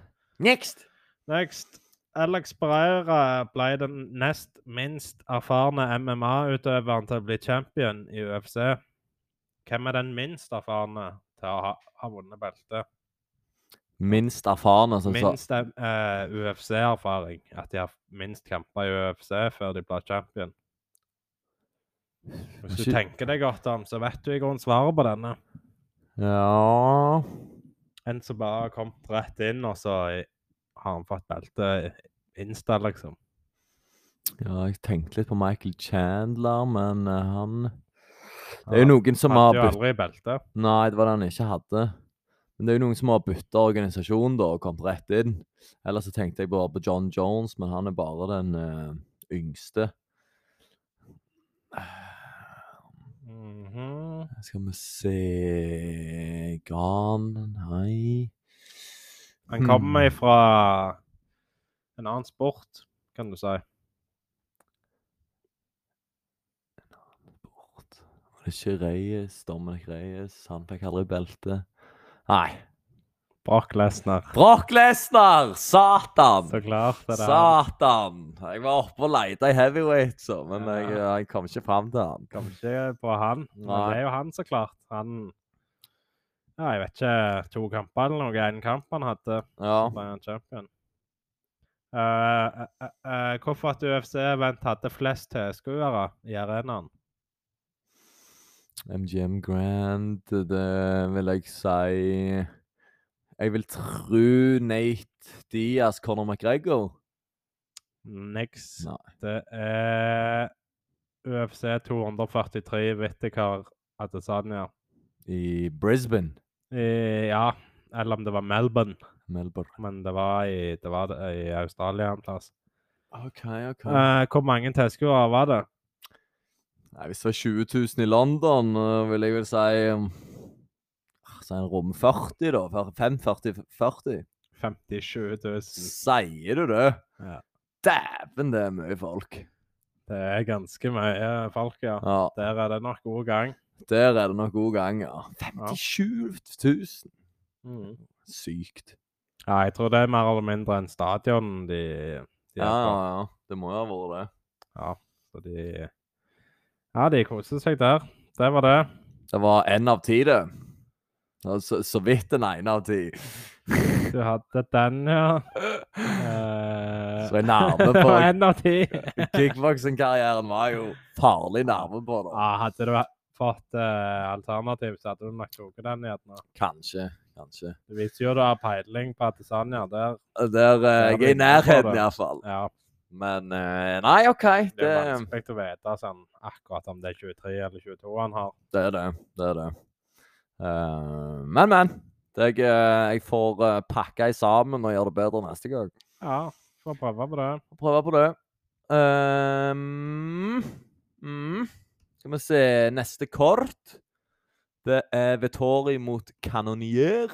A: Next!
B: Next. Alex Pereira ble den nest minst erfarne MMA-utøveren til å bli champion i UFC. Hvem er den minst erfarne til å ha, ha vunnet beltet?
A: Minst erfarne, som sa.
B: Minst eh, UFC-erfaring. At de har minst kamper i UFC før de blir champion. Hvis du
A: Ikke-
B: tenker deg godt om, så vet du i grunnen svaret på denne.
A: Ja
B: En som bare kom rett inn, og så i- har han fått belte insta, liksom.
A: Ja, jeg tenkte litt på Michael Chandler, men eh, han Det er jo
B: Han
A: noen som har
B: Hadde jo
A: bytta
B: aldri belte.
A: Nei, det var det han ikke hadde. Men det er jo noen som har bytta organisasjon da, og kommet rett inn. Ellers så tenkte jeg bare på John Jones, men han er bare den eh, yngste.
B: Mhm.
A: Skal vi se Gan Nei.
B: Han kommer
A: Hmm.
B: ifra en annen sport, kan du si.
A: Bort. Var det ikke Reyes? Dominic Reyes? Han fikk aldri belte. Nei.
B: Brock Lesnar.
A: Brock Lesnar! Satan!
B: Så klart det er det han.
A: Satan! Jeg var oppe og leita i heavyweight, så, men
B: Ja.
A: jeg, eh, jeg kom ikke fram til han.
B: Kom ikke på han. Men
A: Nei.
B: det er jo han, så klart. Han Ja, jeg vet ikke. To kamper eller noe. Én kamp han hadde.
A: Ja.
B: Så ble han champion. Eh, eh, eh, eh, hvorfor at UFC-event hadde flest tilskuere i arenaen?
A: MGM Grand, det vil jeg si Jeg vil tro Nate Diaz, Conor McGregor.
B: Niks.
A: Nei.
B: Det er UFC 243 Whittaker Adesanya.
A: I Brisbane.
B: I, Eh, ja, eller om det var Melbourne.
A: Melbourne.
B: Men det var i, det var det i Australia en plass.
A: OK, OK.
B: Eh, hvor mange tilskuere var det?
A: Nei, Hvis det var 20 000 i London, eh, vil jeg vel si um, ah, Si en rom 40, da. 540-40.
B: 57 000.
A: Sier du det?
B: Ja.
A: Dæven, det er mye folk.
B: Det er ganske mye folk, ja.
A: Ja,
B: Der er det nok god gang.
A: Der er det nok god gang, ja. 57 000. Mm. Sykt.
B: Ja, jeg tror det er mer eller mindre en stadion de, de
A: Ja,
B: er på.
A: ja, ja. Det må jo ha vært det.
B: Ja, så de Ja, de koser seg der. Det var det.
A: Det var én av ti, det. Ja, Så, så vidt en ene av ti.
B: Du hadde den, ja. Eh,
A: Så jeg nærme
B: det
A: på
B: var en av ti.
A: Kickboksingkarrieren var jo farlig nærme på, da.
B: Ja, hadde du fått eh, alternativ, så hadde du nok tatt den. gjerne.
A: Kanskje. Kanskje.
B: Det viser jo du har peiling på Adesanya der.
A: Der eh,
B: Ja,
A: jeg er i
B: men-
A: nærheten, iallfall.
B: sånn, Ja,
A: Men eh, Nei, OK.
B: Det
A: Det,
B: er vanskelig å vite sånn, akkurat om det er 23 eller 22 han har.
A: det er det. Det er det. Eh, men, men. Jeg, eh, jeg får uh, pakka i sammen og gjøre det bedre neste gang.
B: Ja, får prøve på det.
A: Får prøve på det. Ehm, mm. Skal vi se Neste kort. Det er Vettori mot Canonier.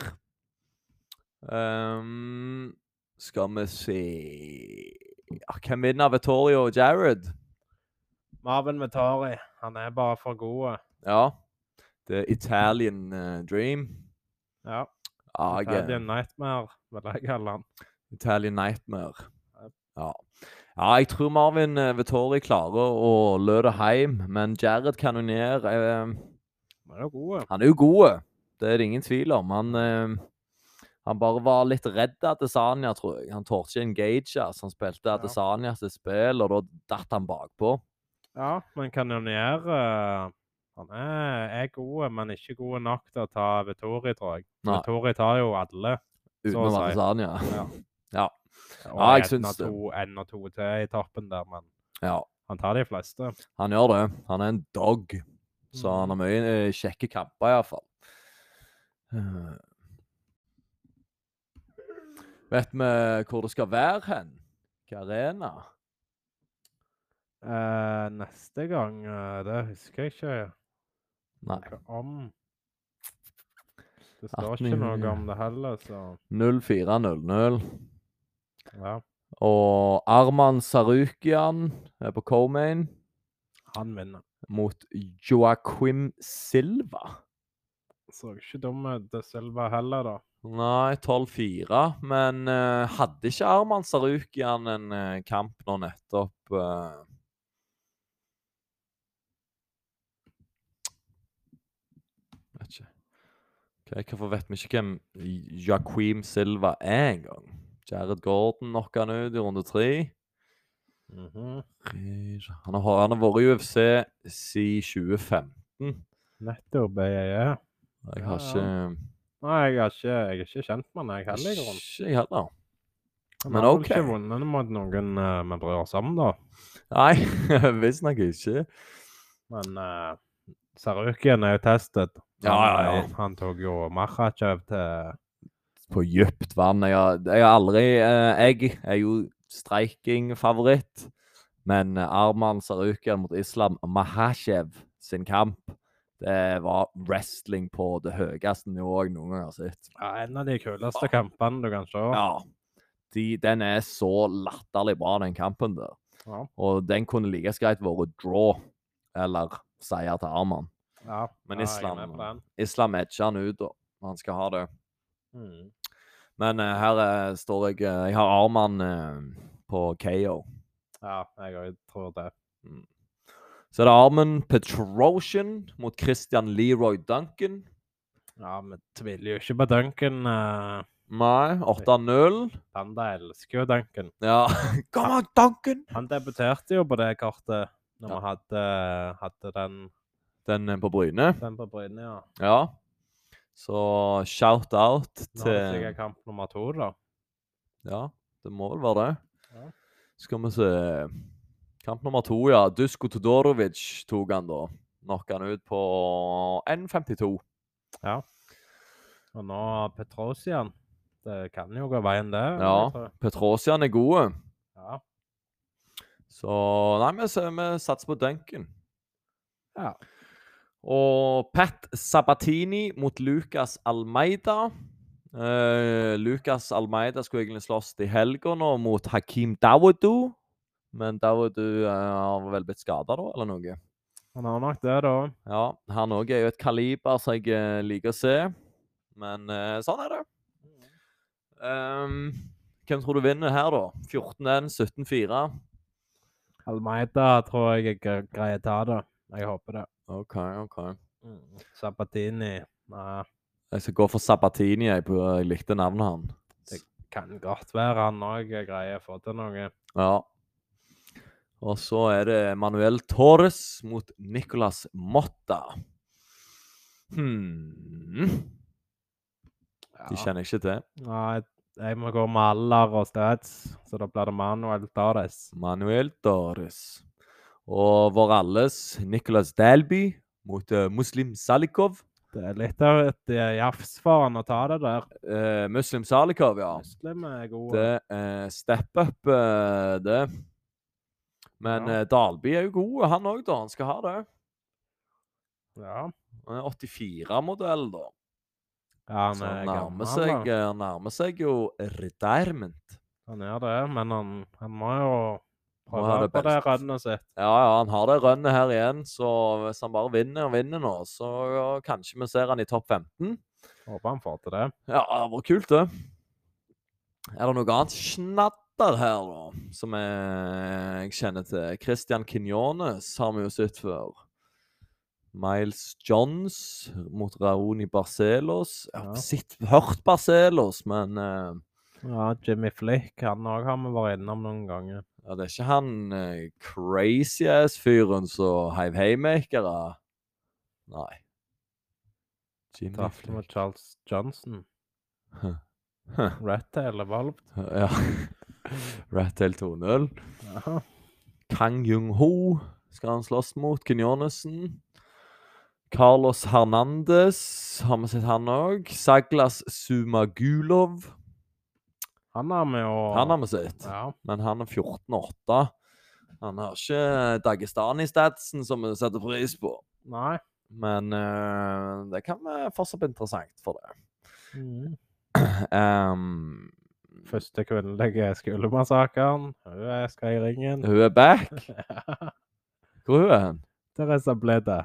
A: Ehm, skal vi se ja, Hvem vinner Vettori og Jared?
B: Marvin Vettori, han er bare for god.
A: Ja. The Italian eh, Dream.
B: Ja.
A: Ja, jeg er-
B: Italian Nightmare, vil jeg kalle han.
A: Italian Nightmare.
B: Yep.
A: Ja. ja, jeg tror Marvin eh, Vettori klarer å lø det hjem, men Jared Kanonier eh,
B: Han er jo god.
A: Han er jo god. Det er det ingen tvil om. Han, eh, han bare var litt redd Adesanya, tror jeg. Han torde ikke engage. Altså, han spilte Adesanya sitt spill, og da datt han bakpå.
B: Ja, men Kanonier eh, Han er, er god, men ikke god nok til å ta Vettori, tror jeg.
A: Nei.
B: Vettori tar jo alle. Så å
A: Utenom
B: si.
A: Adesanya.
B: Ja.
A: Ja.
B: Og
A: Ja, jeg
B: gjerne
A: syns det.
B: to- En og to til i toppen der, men
A: ja.
B: han tar de fleste.
A: Han gjør det. Han er en dog. Så
B: Mhm.
A: han har mye eh, kjekke kamper, iallfall. Uh. Vet vi hvor det skal være hen? Hvilken arena?
B: Eh, neste gang eh, Det husker jeg ikke
A: Nei.
B: noe om.
A: 18.
B: Det står ikke
A: juni.
B: noe om det heller, så
A: 0400.
B: ja.
A: Og Arman Sarukian er på co-main
B: Han vinner.
A: mot Joaquim Silva.
B: Så ikke dum ut, det Silva heller, da.
A: Nei, 12-4. Men eh, hadde ikke Arman Sarukian en eh, kamp nå nettopp? eh? Vet ikke. Ok, hvorfor vet vi ikke hvem Joaquim Silva er engang? Jared Gordon knocka han ut i runde tre.
B: Mhm.
A: Han har, han har vært i UFC siden 2015.
B: Nettopp BJJ.
A: Jeg har
B: Ja,
A: ikke
B: Nei, jeg er ikke, jeg er ikke kjent med han, jeg heller, i grunnen.
A: Ikke jeg heller.
B: Han
A: Men
B: har vel
A: ok.
B: ikke vunnet mot noen eh, vi bryr oss om, da.
A: Nei, visstnok ikke.
B: Men uh, Sarukian er jo testet.
A: Ja,
B: Han,
A: ja, ja.
B: eh, Han tok jo Makhachev til
A: På dypt vann. Jeg har, jeg har aldri eh, Jeg er jo striking-favoritt, men eh, Arman Sarukian mot Islam Mahashev sin kamp det var wrestling på det høyeste nivået jeg noen gang har sett.
B: ja, en av de kuleste kampene du kan se.
A: Ja. De, den er så latterlig bra, den kampen der.
B: Ja.
A: Og den kunne like så greit vært draw eller seier til Arman.
B: Ja,
A: Men
B: ja, jeg er
A: Islam-
B: med på den.
A: Islam edger han ut, og han skal ha det.
B: Mm.
A: Men eh, her eh, står jeg eh, Jeg har Arman eh, på KO.
B: Ja, jeg òg tror det.
A: Så er det Arman Petrosian mot Christian Leroy Duncan.
B: Ja, vi tviler jo ikke på Duncan. eh,
A: Nei, 8-0.
B: Panda elsker jo Duncan.
A: Ja. Come on, Duncan!
B: Han debuterte jo på det kartet
A: Ja.
B: når vi hadde, hadde den,
A: Den er på Bryne.
B: den på Bryne, ja.
A: Ja. Så shout-out
B: Nå er det
A: til
B: sikkert kamp nummer to, da.
A: Ja, det må vel være det.
B: Ja.
A: Skal vi se Kamp nummer to, ja. Dusko Todorovic tok han da. Knocka han ut på 1.52.
B: Og nå Petrosian. Det kan jo gå veien, det. vil
A: Ja.
B: jeg tro.
A: Petrosian er gode,
B: ja.
A: så Nei, vi, s- vi satser på Duncan.
B: Ja.
A: Og Pat Sabatini mot Lucas Almeida. Eh, Lucas Almeida skulle egentlig slåss i helga nå mot Hakim Dawodu. Men Dawodu eh, har vel blitt skada, da, eller noe?
B: Han har nok det, da.
A: Ja, han òg er jo et kaliber som jeg eh, liker å se. Men eh, sånn er det. Ehm, hvem tror du vinner her, da? 14-1, 17-4?
B: Almeida tror jeg jeg gre- greier å ta det. Jeg håper det.
A: OK, OK.
B: Mm. Sabatini Nei,
A: Jeg skal gå for Sabatini. Jeg, på, jeg likte navnet han.
B: kan godt være han òg greier å få til noe.
A: Ja. Og så er det Manuel Torres mot Nicolas Motta. Hmm. De
B: Ja.
A: kjenner jeg ikke til.
B: Nei, jeg må gå med alder og stats, så da blir det Manuel Torres.
A: Manuel Torres. Og vår alles Nicolas Dalby mot eh, Muslim Salikov.
B: Det er litt av et eh, jafs for han å ta det der.
A: Eh, Muslim Salikov, ja.
B: Muslim er gode.
A: Det er step up, eh, det. Men
B: Ja.
A: eh, Dalby er jo god, han òg, da. Han skal ha det.
B: Ja.
A: Han er 84-modell, da.
B: Ja, han
A: Så
B: er
A: han nærmer
B: gammel.
A: seg,
B: da.
A: han nærmer seg jo retirement.
B: Han er det, men han, han må jo
A: Må ha
B: prøve
A: det
B: på det
A: beste.
B: rønnet sitt.
A: Ja, ja, han har det rønnet her igjen, så hvis han bare vinner og vinner nå, så ja, kanskje vi ser han i topp 15.
B: Håper han får til det.
A: Ja, det var kult, det. Er det noe annet snadder her, da, som jeg, jeg kjenner til? Christian Quinones har vi jo sett før. Miles Johns mot Raoni Barcelos. Jeg har
B: Ja.
A: sitt, hørt Barcelos, men eh,
B: Ja, Jimmy Flick, han òg har vi vært innom noen ganger.
A: ja, det er ikke han eh, crazy ass-fyren som heiv haymakere. Nei. Jimmy
B: Traff
A: Flick.
B: med Charles Johnson.
A: Huh. Huh.
B: Redtail evolved.
A: Ja. Rattel 2-0.
B: Ja.
A: Kang Jung-ho skal han slåss mot. Gunjornesen. Carlos Hernandez har vi sett han òg. Saglas Sumagulov.
B: Han har vi jo
A: Han har vi sett,
B: Ja.
A: men han er 14-8. Han har ikke Dagestani-statsen som vi setter pris på.
B: Nei.
A: Men eh, det kan være fortsatt bli interessant for det.
B: Mm.
A: Ehm,
B: Første kvinnelige skolemassakren. Hun er- skal i ringen.
A: hun er back. Hvor er hun hen?
B: Teresa Bleda.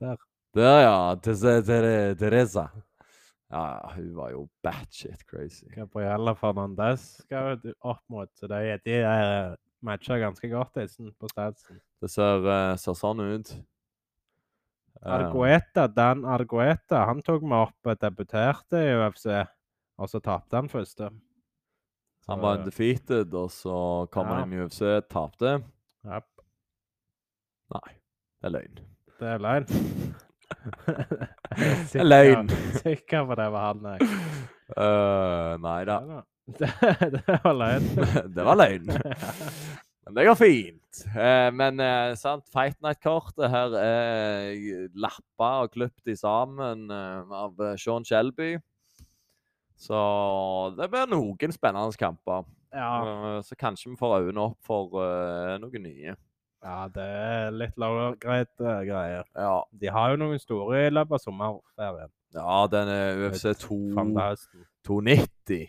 A: Der, ja. Tese- Tere- Teresa. Ja, ja, hun var jo batshit crazy.
B: Gabriella Fernandez skal jo opp mot. Så de, de er matcher ganske godt disse på statsen.
A: Det ser, eh, ser sånn ut. Eh,
B: Argueta, Dan Argueta, han tok meg opp og debuterte i UFC. Og så tapte han første.
A: han var undefeated, og så kom han inn i UFC, tapte.
B: Ja,
A: Nei, det er løgn.
B: det er løgn.
A: Det er løgn.
B: Sikker på det var han, jeg.
A: Eh, nei da.
B: Det, det var løgn.
A: det var løgn. Men det går fint. Eh, men eh, sant, Fight Night-kortet her er lappa og klippet i sammen eh, av eh, Sean Shelby. Så det blir noen spennende kamper.
B: Ja,
A: Eh, så kanskje vi får øynene opp for eh, noen nye.
B: ja, det er litt lavgreit greier.
A: Ja,
B: De har jo noen store i løpet av sommerferien.
A: ja den er UFC
B: Vet, Fram til
A: 2,
B: høsten.
A: 290.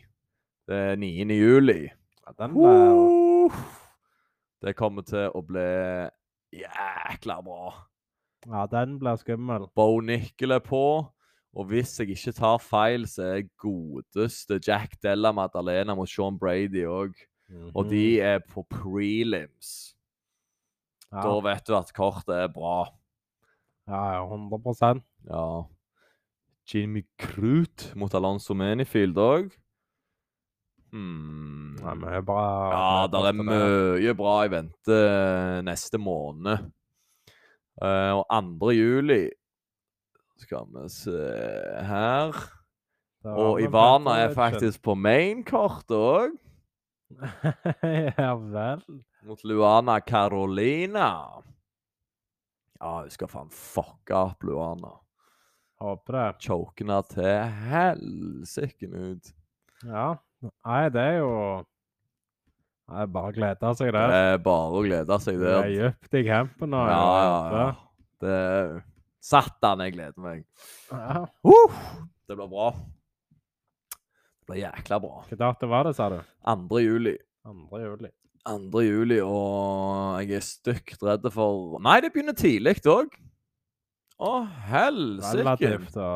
A: Det er 9. juli.
B: Ja, den blir
A: Uff. Det kommer til å bli jækla bra.
B: ja, den blir skummel.
A: Bo Nickel er på. Og hvis jeg ikke tar feil, så er godeste Jack Della Madalena mot Sean Brady òg. Mm-hmm. Og de er på prelims.
B: Mm. ja,
A: Da vet du at kortet er bra.
B: ja, ja, 100
A: Ja. Jimmy Crute mot Alonso Manifield òg. Hmm.
B: Ja, men det er bra.
A: Ja, det er
B: bra-
A: mye bra i vente neste måned. Eh, og 2. juli skal vi se her
B: det var
A: Og
B: vel
A: Ivana er
B: Petrovic.
A: faktisk på mainkortet òg,
B: Ja vel.
A: mot Luana Carolina. Ja, hun skal faen fucke opp Luana.
B: Håper det.
A: Chokene til helsiken ut.
B: Ja. Nei, det er jo Nei, det er bare å glede seg,
A: Det
B: det.
A: er bare å glede seg
B: Det er
A: der.
B: dypt i campen nå.
A: Ja, ja, ja. Det er Satan, jeg gleder meg.
B: ja.
A: Uh, det blir bra. Det blir jækla bra.
B: Hvilken dato var det, sa du?
A: 2. juli.
B: 2. juli.
A: 2. juli, og jeg er stygt redd for Nei, det begynner tidlig òg. Å, helsike.
B: Relativt å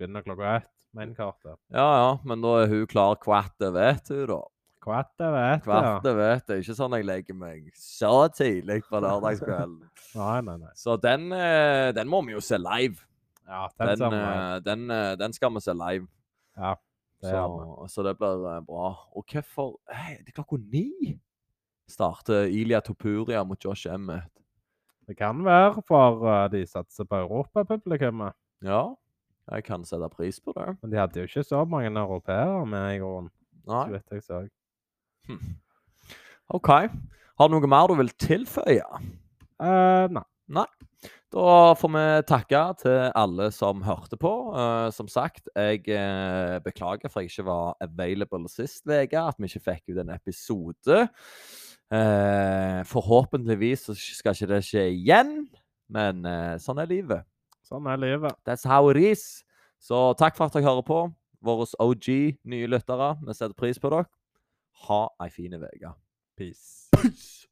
B: begynne klokka ett. Mainkartet.
A: Ja, ja, men da er hun klar kvart, det vet hun, da.
B: Kvart over ett, ja.
A: Kvart, det vet jeg. Ikke sånn jeg legger meg så tidlig på lørdagskvelden.
B: Nei, nei, nei.
A: Så den, eh, den må vi jo se live.
B: Ja, den,
A: Den,
B: samme.
A: eh, den, eh, den skal vi se live.
B: Ja, det er han.
A: Så, så det blir eh, bra. Og hvorfor Hei, Det er klokka ni starter Ilya Topuria mot Josh Emmett.
B: Det kan være for eh, de satser på europapublikummet.
A: Ja, jeg kan sette pris på det.
B: Men de hadde jo ikke så mange europeere med i grunnen. Så
A: Nei.
B: vidt jeg så.
A: OK. Har du noe mer du vil tilføye?
B: Eh, nei.
A: Da får vi takke til alle som hørte på. Eh, som sagt, jeg eh, beklager for jeg ikke var available sist uke, at vi ikke fikk ut en episode. Eh, forhåpentligvis så skal ikke det skje igjen, men eh, sånn er livet.
B: Sånn er livet.
A: That's how it is. Så takk for at dere hører på. Våre OG, nye lyttere. Vi setter pris på dere. Ha ei fin uke.
B: Peace.
A: Peace!